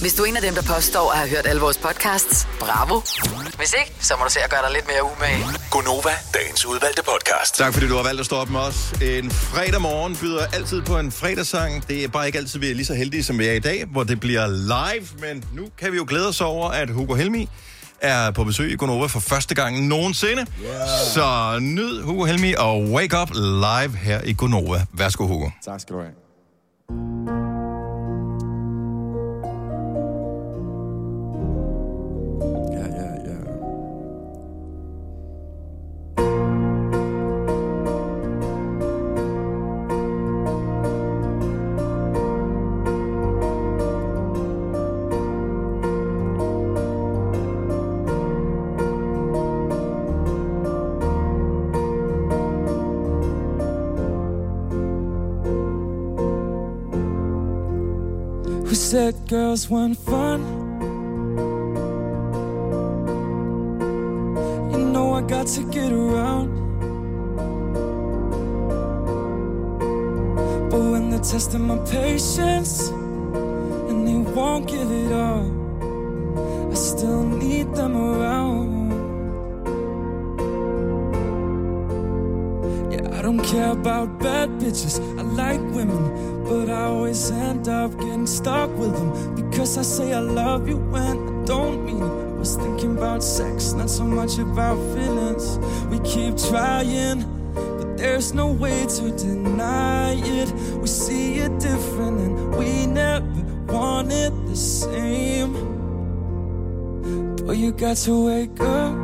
Hvis du er en af dem, der påstår at have hørt alle vores podcasts, bravo. Hvis ikke, så må du se at gøre dig lidt mere umage. Gonova, dagens udvalgte podcast. Tak fordi du har valgt at stå op med os. En fredag morgen byder altid på en fredagssang. Det er bare ikke altid, vi er lige så heldige, som vi er i dag, hvor det bliver live. Men nu kan vi jo glæde os over, at Hugo Helmi er på besøg i Gonova for første gang nogensinde. Yeah. Så nyd Hugo Helmi og Wake Up live her i Gonova. Værsgo, Hugo. Tak skal du have. Ja, ja, ja. Who said girls weren't fun? You know I got to get around. But when they're testing my patience and won't give it up. I still need them around. Yeah, I don't care about bad bitches. I like women, but I always end up getting stuck with them because I say I love you when I don't mean it. I was thinking about sex, not so much about feelings. We keep trying. There's no way to deny it. We see it different and we never want it the same. But you got to wake up.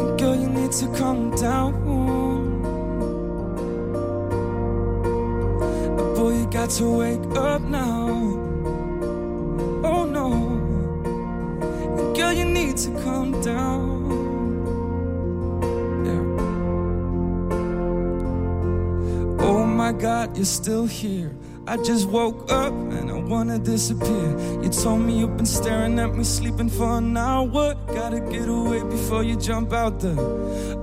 And girl, you need to calm down. Boy, you got to wake up now. Oh no. And girl, you need to calm down. Oh my god, you're still here. I just woke up and I wanna disappear. You told me you've been staring at me, sleeping for an hour. Gotta get away before you jump out the.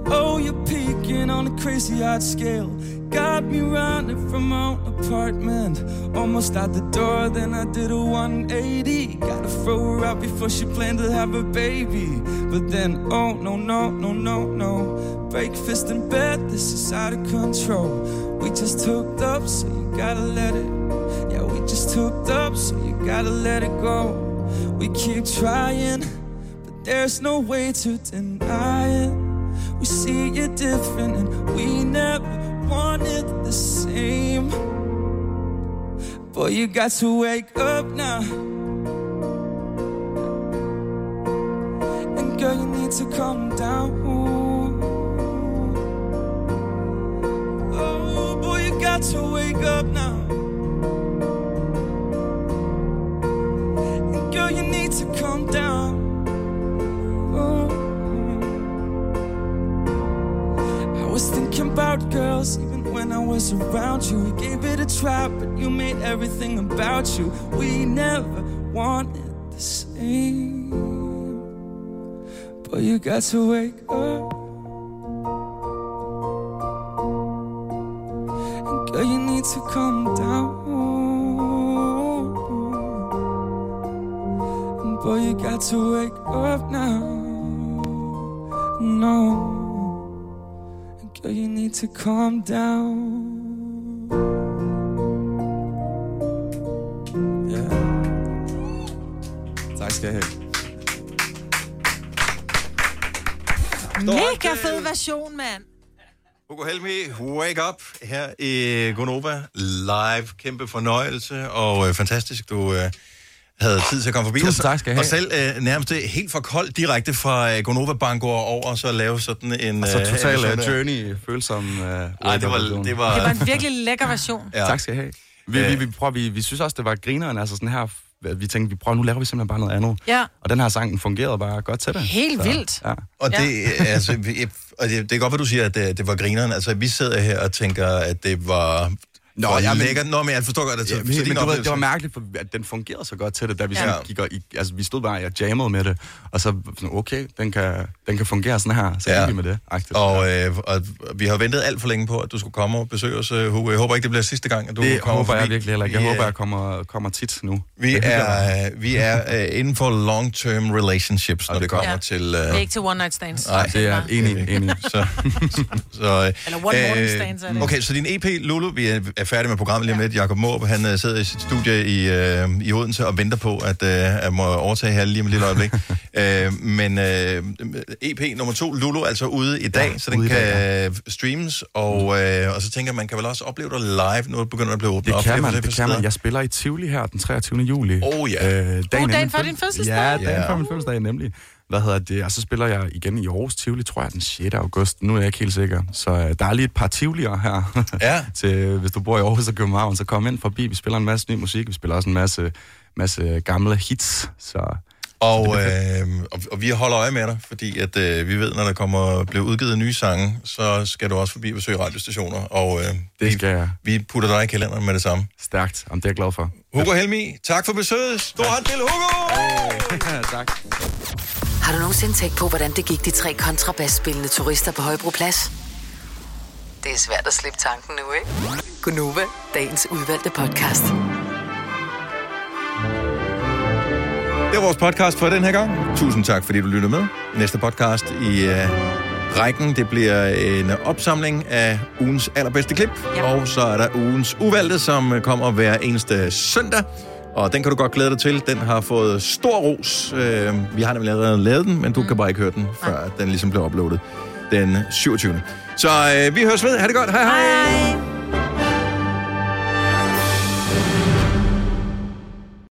Oh, you're peeking on a crazy hot scale. Got me running from my own apartment. Almost out the door, then I did a 180. Gotta throw her out before she planned to have a baby. But then, oh no, no, no, no, no. Breakfast in bed, this is out of control. We just hooked up, so you gotta let it. Yeah, we just hooked up, so you gotta let it go. We keep trying, but there's no way to deny it. We see it different, and we never wanted the same. Boy, you got to wake up now. And girl, you need to calm down. Oh, boy, you got to wake up now. And girl, you need to calm down. Oh. I was thinking about girls even when I was around you. We gave it a try, but you made everything about you. We never wanted the same. But you got to wake up. And girl, you need to calm down. And boy, you got to wake up now. No. Girl, you need to calm down. Ja. Tak skal I have. Mega fed version, mand. Hugo Helmi, wake up her i Gonova live. Kæmpe fornøjelse, og øh, fantastisk, du øh, havde tid til at komme forbi. Tusind Og så- tak skal I have. Og selv øh, nærmest øh, helt for koldt direkte fra øh, Gonova Bango og over, og så lave sådan en... Og så øh, total sådan uh, der. journey, følsom. Uh, Ej, det var... Det var, Det var en virkelig lækker version. Ja. Tak skal I have. Vi, Øh. vi, vi, prøver, vi, vi synes også, det var grineren, altså sådan her, vi tænkte, vi prøver, nu laver vi simpelthen bare noget andet. Ja. Og den her sang den fungerede bare godt til det. Helt vildt. Ja. Og det, altså, vi, og det, det er godt, hvad du siger, at det, det var grineren. Altså, vi sidder her og tænker, at det var... Nå, var ja, jeg men- lækkert. Nå, men jeg forstår godt, at Ja, så- men, så men, din du ved, det oplevelse- var mærkeligt, for at den fungerede så godt til det, da vi, Ja. sådan Ja. gik og, i- altså, vi stod bare og jammede med det, og så sådan, okay, den kan, den kan fungere sådan her, så ja. gik vi med det. Og, øh, og vi har ventet alt for længe på, at du skulle komme og besøge os, øh, Hugo. Jeg håber ikke, det bliver sidste gang, at du Du det kommer håber jeg forbi. virkelig heller ikke. Jeg Vi, øh, håber, jeg kommer, kommer tit nu. Vi Jeg hygger er, mig. vi er øh, inden for long-term relationships, når det kommer Ja. til... øh, Det er ikke til one night stands. Nej, det er bare- enig, enig. [laughs] Så, så, øh, Eller one morning stands, er det. Okay, så din EP, Lulu, vi er, er færdige med programmet lige om lidt. Jakob Måb, han øh, sidder i sit studie i, øh, i Odense og venter på, at øh, jeg må overtage her lige om et lille øjeblik. øh, men øh, EP nummer to, Lulu, er altså ude i dag, ja, så den ude i kan dag, dag, ja. streames, og, øh, og så tænker jeg, man kan vel også opleve dig live, når det begynder at blive åbnet Det op. kan flere man, det forskellige kan man. steder. Jeg spiller i Tivoli her den 23. juli. Oh ja. Øh, dagen, dagen inden min før din fødsel- fødselsdag. Ja, dagen Ja. før min fødselsdag, nemlig. Hvad hedder det? Og så spiller jeg igen i Aarhus Tivoli, tror jeg, den 6. august. Nu er jeg ikke helt sikker. Så øh, der er lige et par Tivoli'er her. Ja. [laughs] til, hvis du bor i Aarhus og København, så kom ind forbi. Vi spiller en masse ny musik. Vi spiller også en masse, masse gamle hits. Så Og, øh, og, og vi holder øje med dig, fordi at, øh, vi ved, når der kommer bliver udgivet nye sange, så skal du også forbi og besøge radiostationer, og øh, det skal jeg. vi putter dig i kalenderen med det samme. Stærkt. Om det er jeg glad for. Hugo Helmi, tak for besøget. Stor hånd til Hugo! [laughs] tak. Har du nogensinde tænkt på, hvordan det gik de tre kontrabasspillende turister på Højbroplads? Det er svært at slippe tanken nu, ikke? Gunova, dagens udvalgte podcast. Det var vores podcast for den her gang. Tusind tak, fordi du lyttede med. Næste podcast i øh, rækken, det bliver en opsamling af ugens allerbedste klip. Ja. Og så er der ugens uvalgte, som øh, kommer hver eneste søndag. Og den kan du godt glæde dig til. Den har fået stor ros. Øh, vi har nemlig allerede lavet den, men du kan bare ikke høre den, før den ligesom bliver uploadet den 27. Så øh, vi høres ved. Ha' det godt. Hej hej. hej.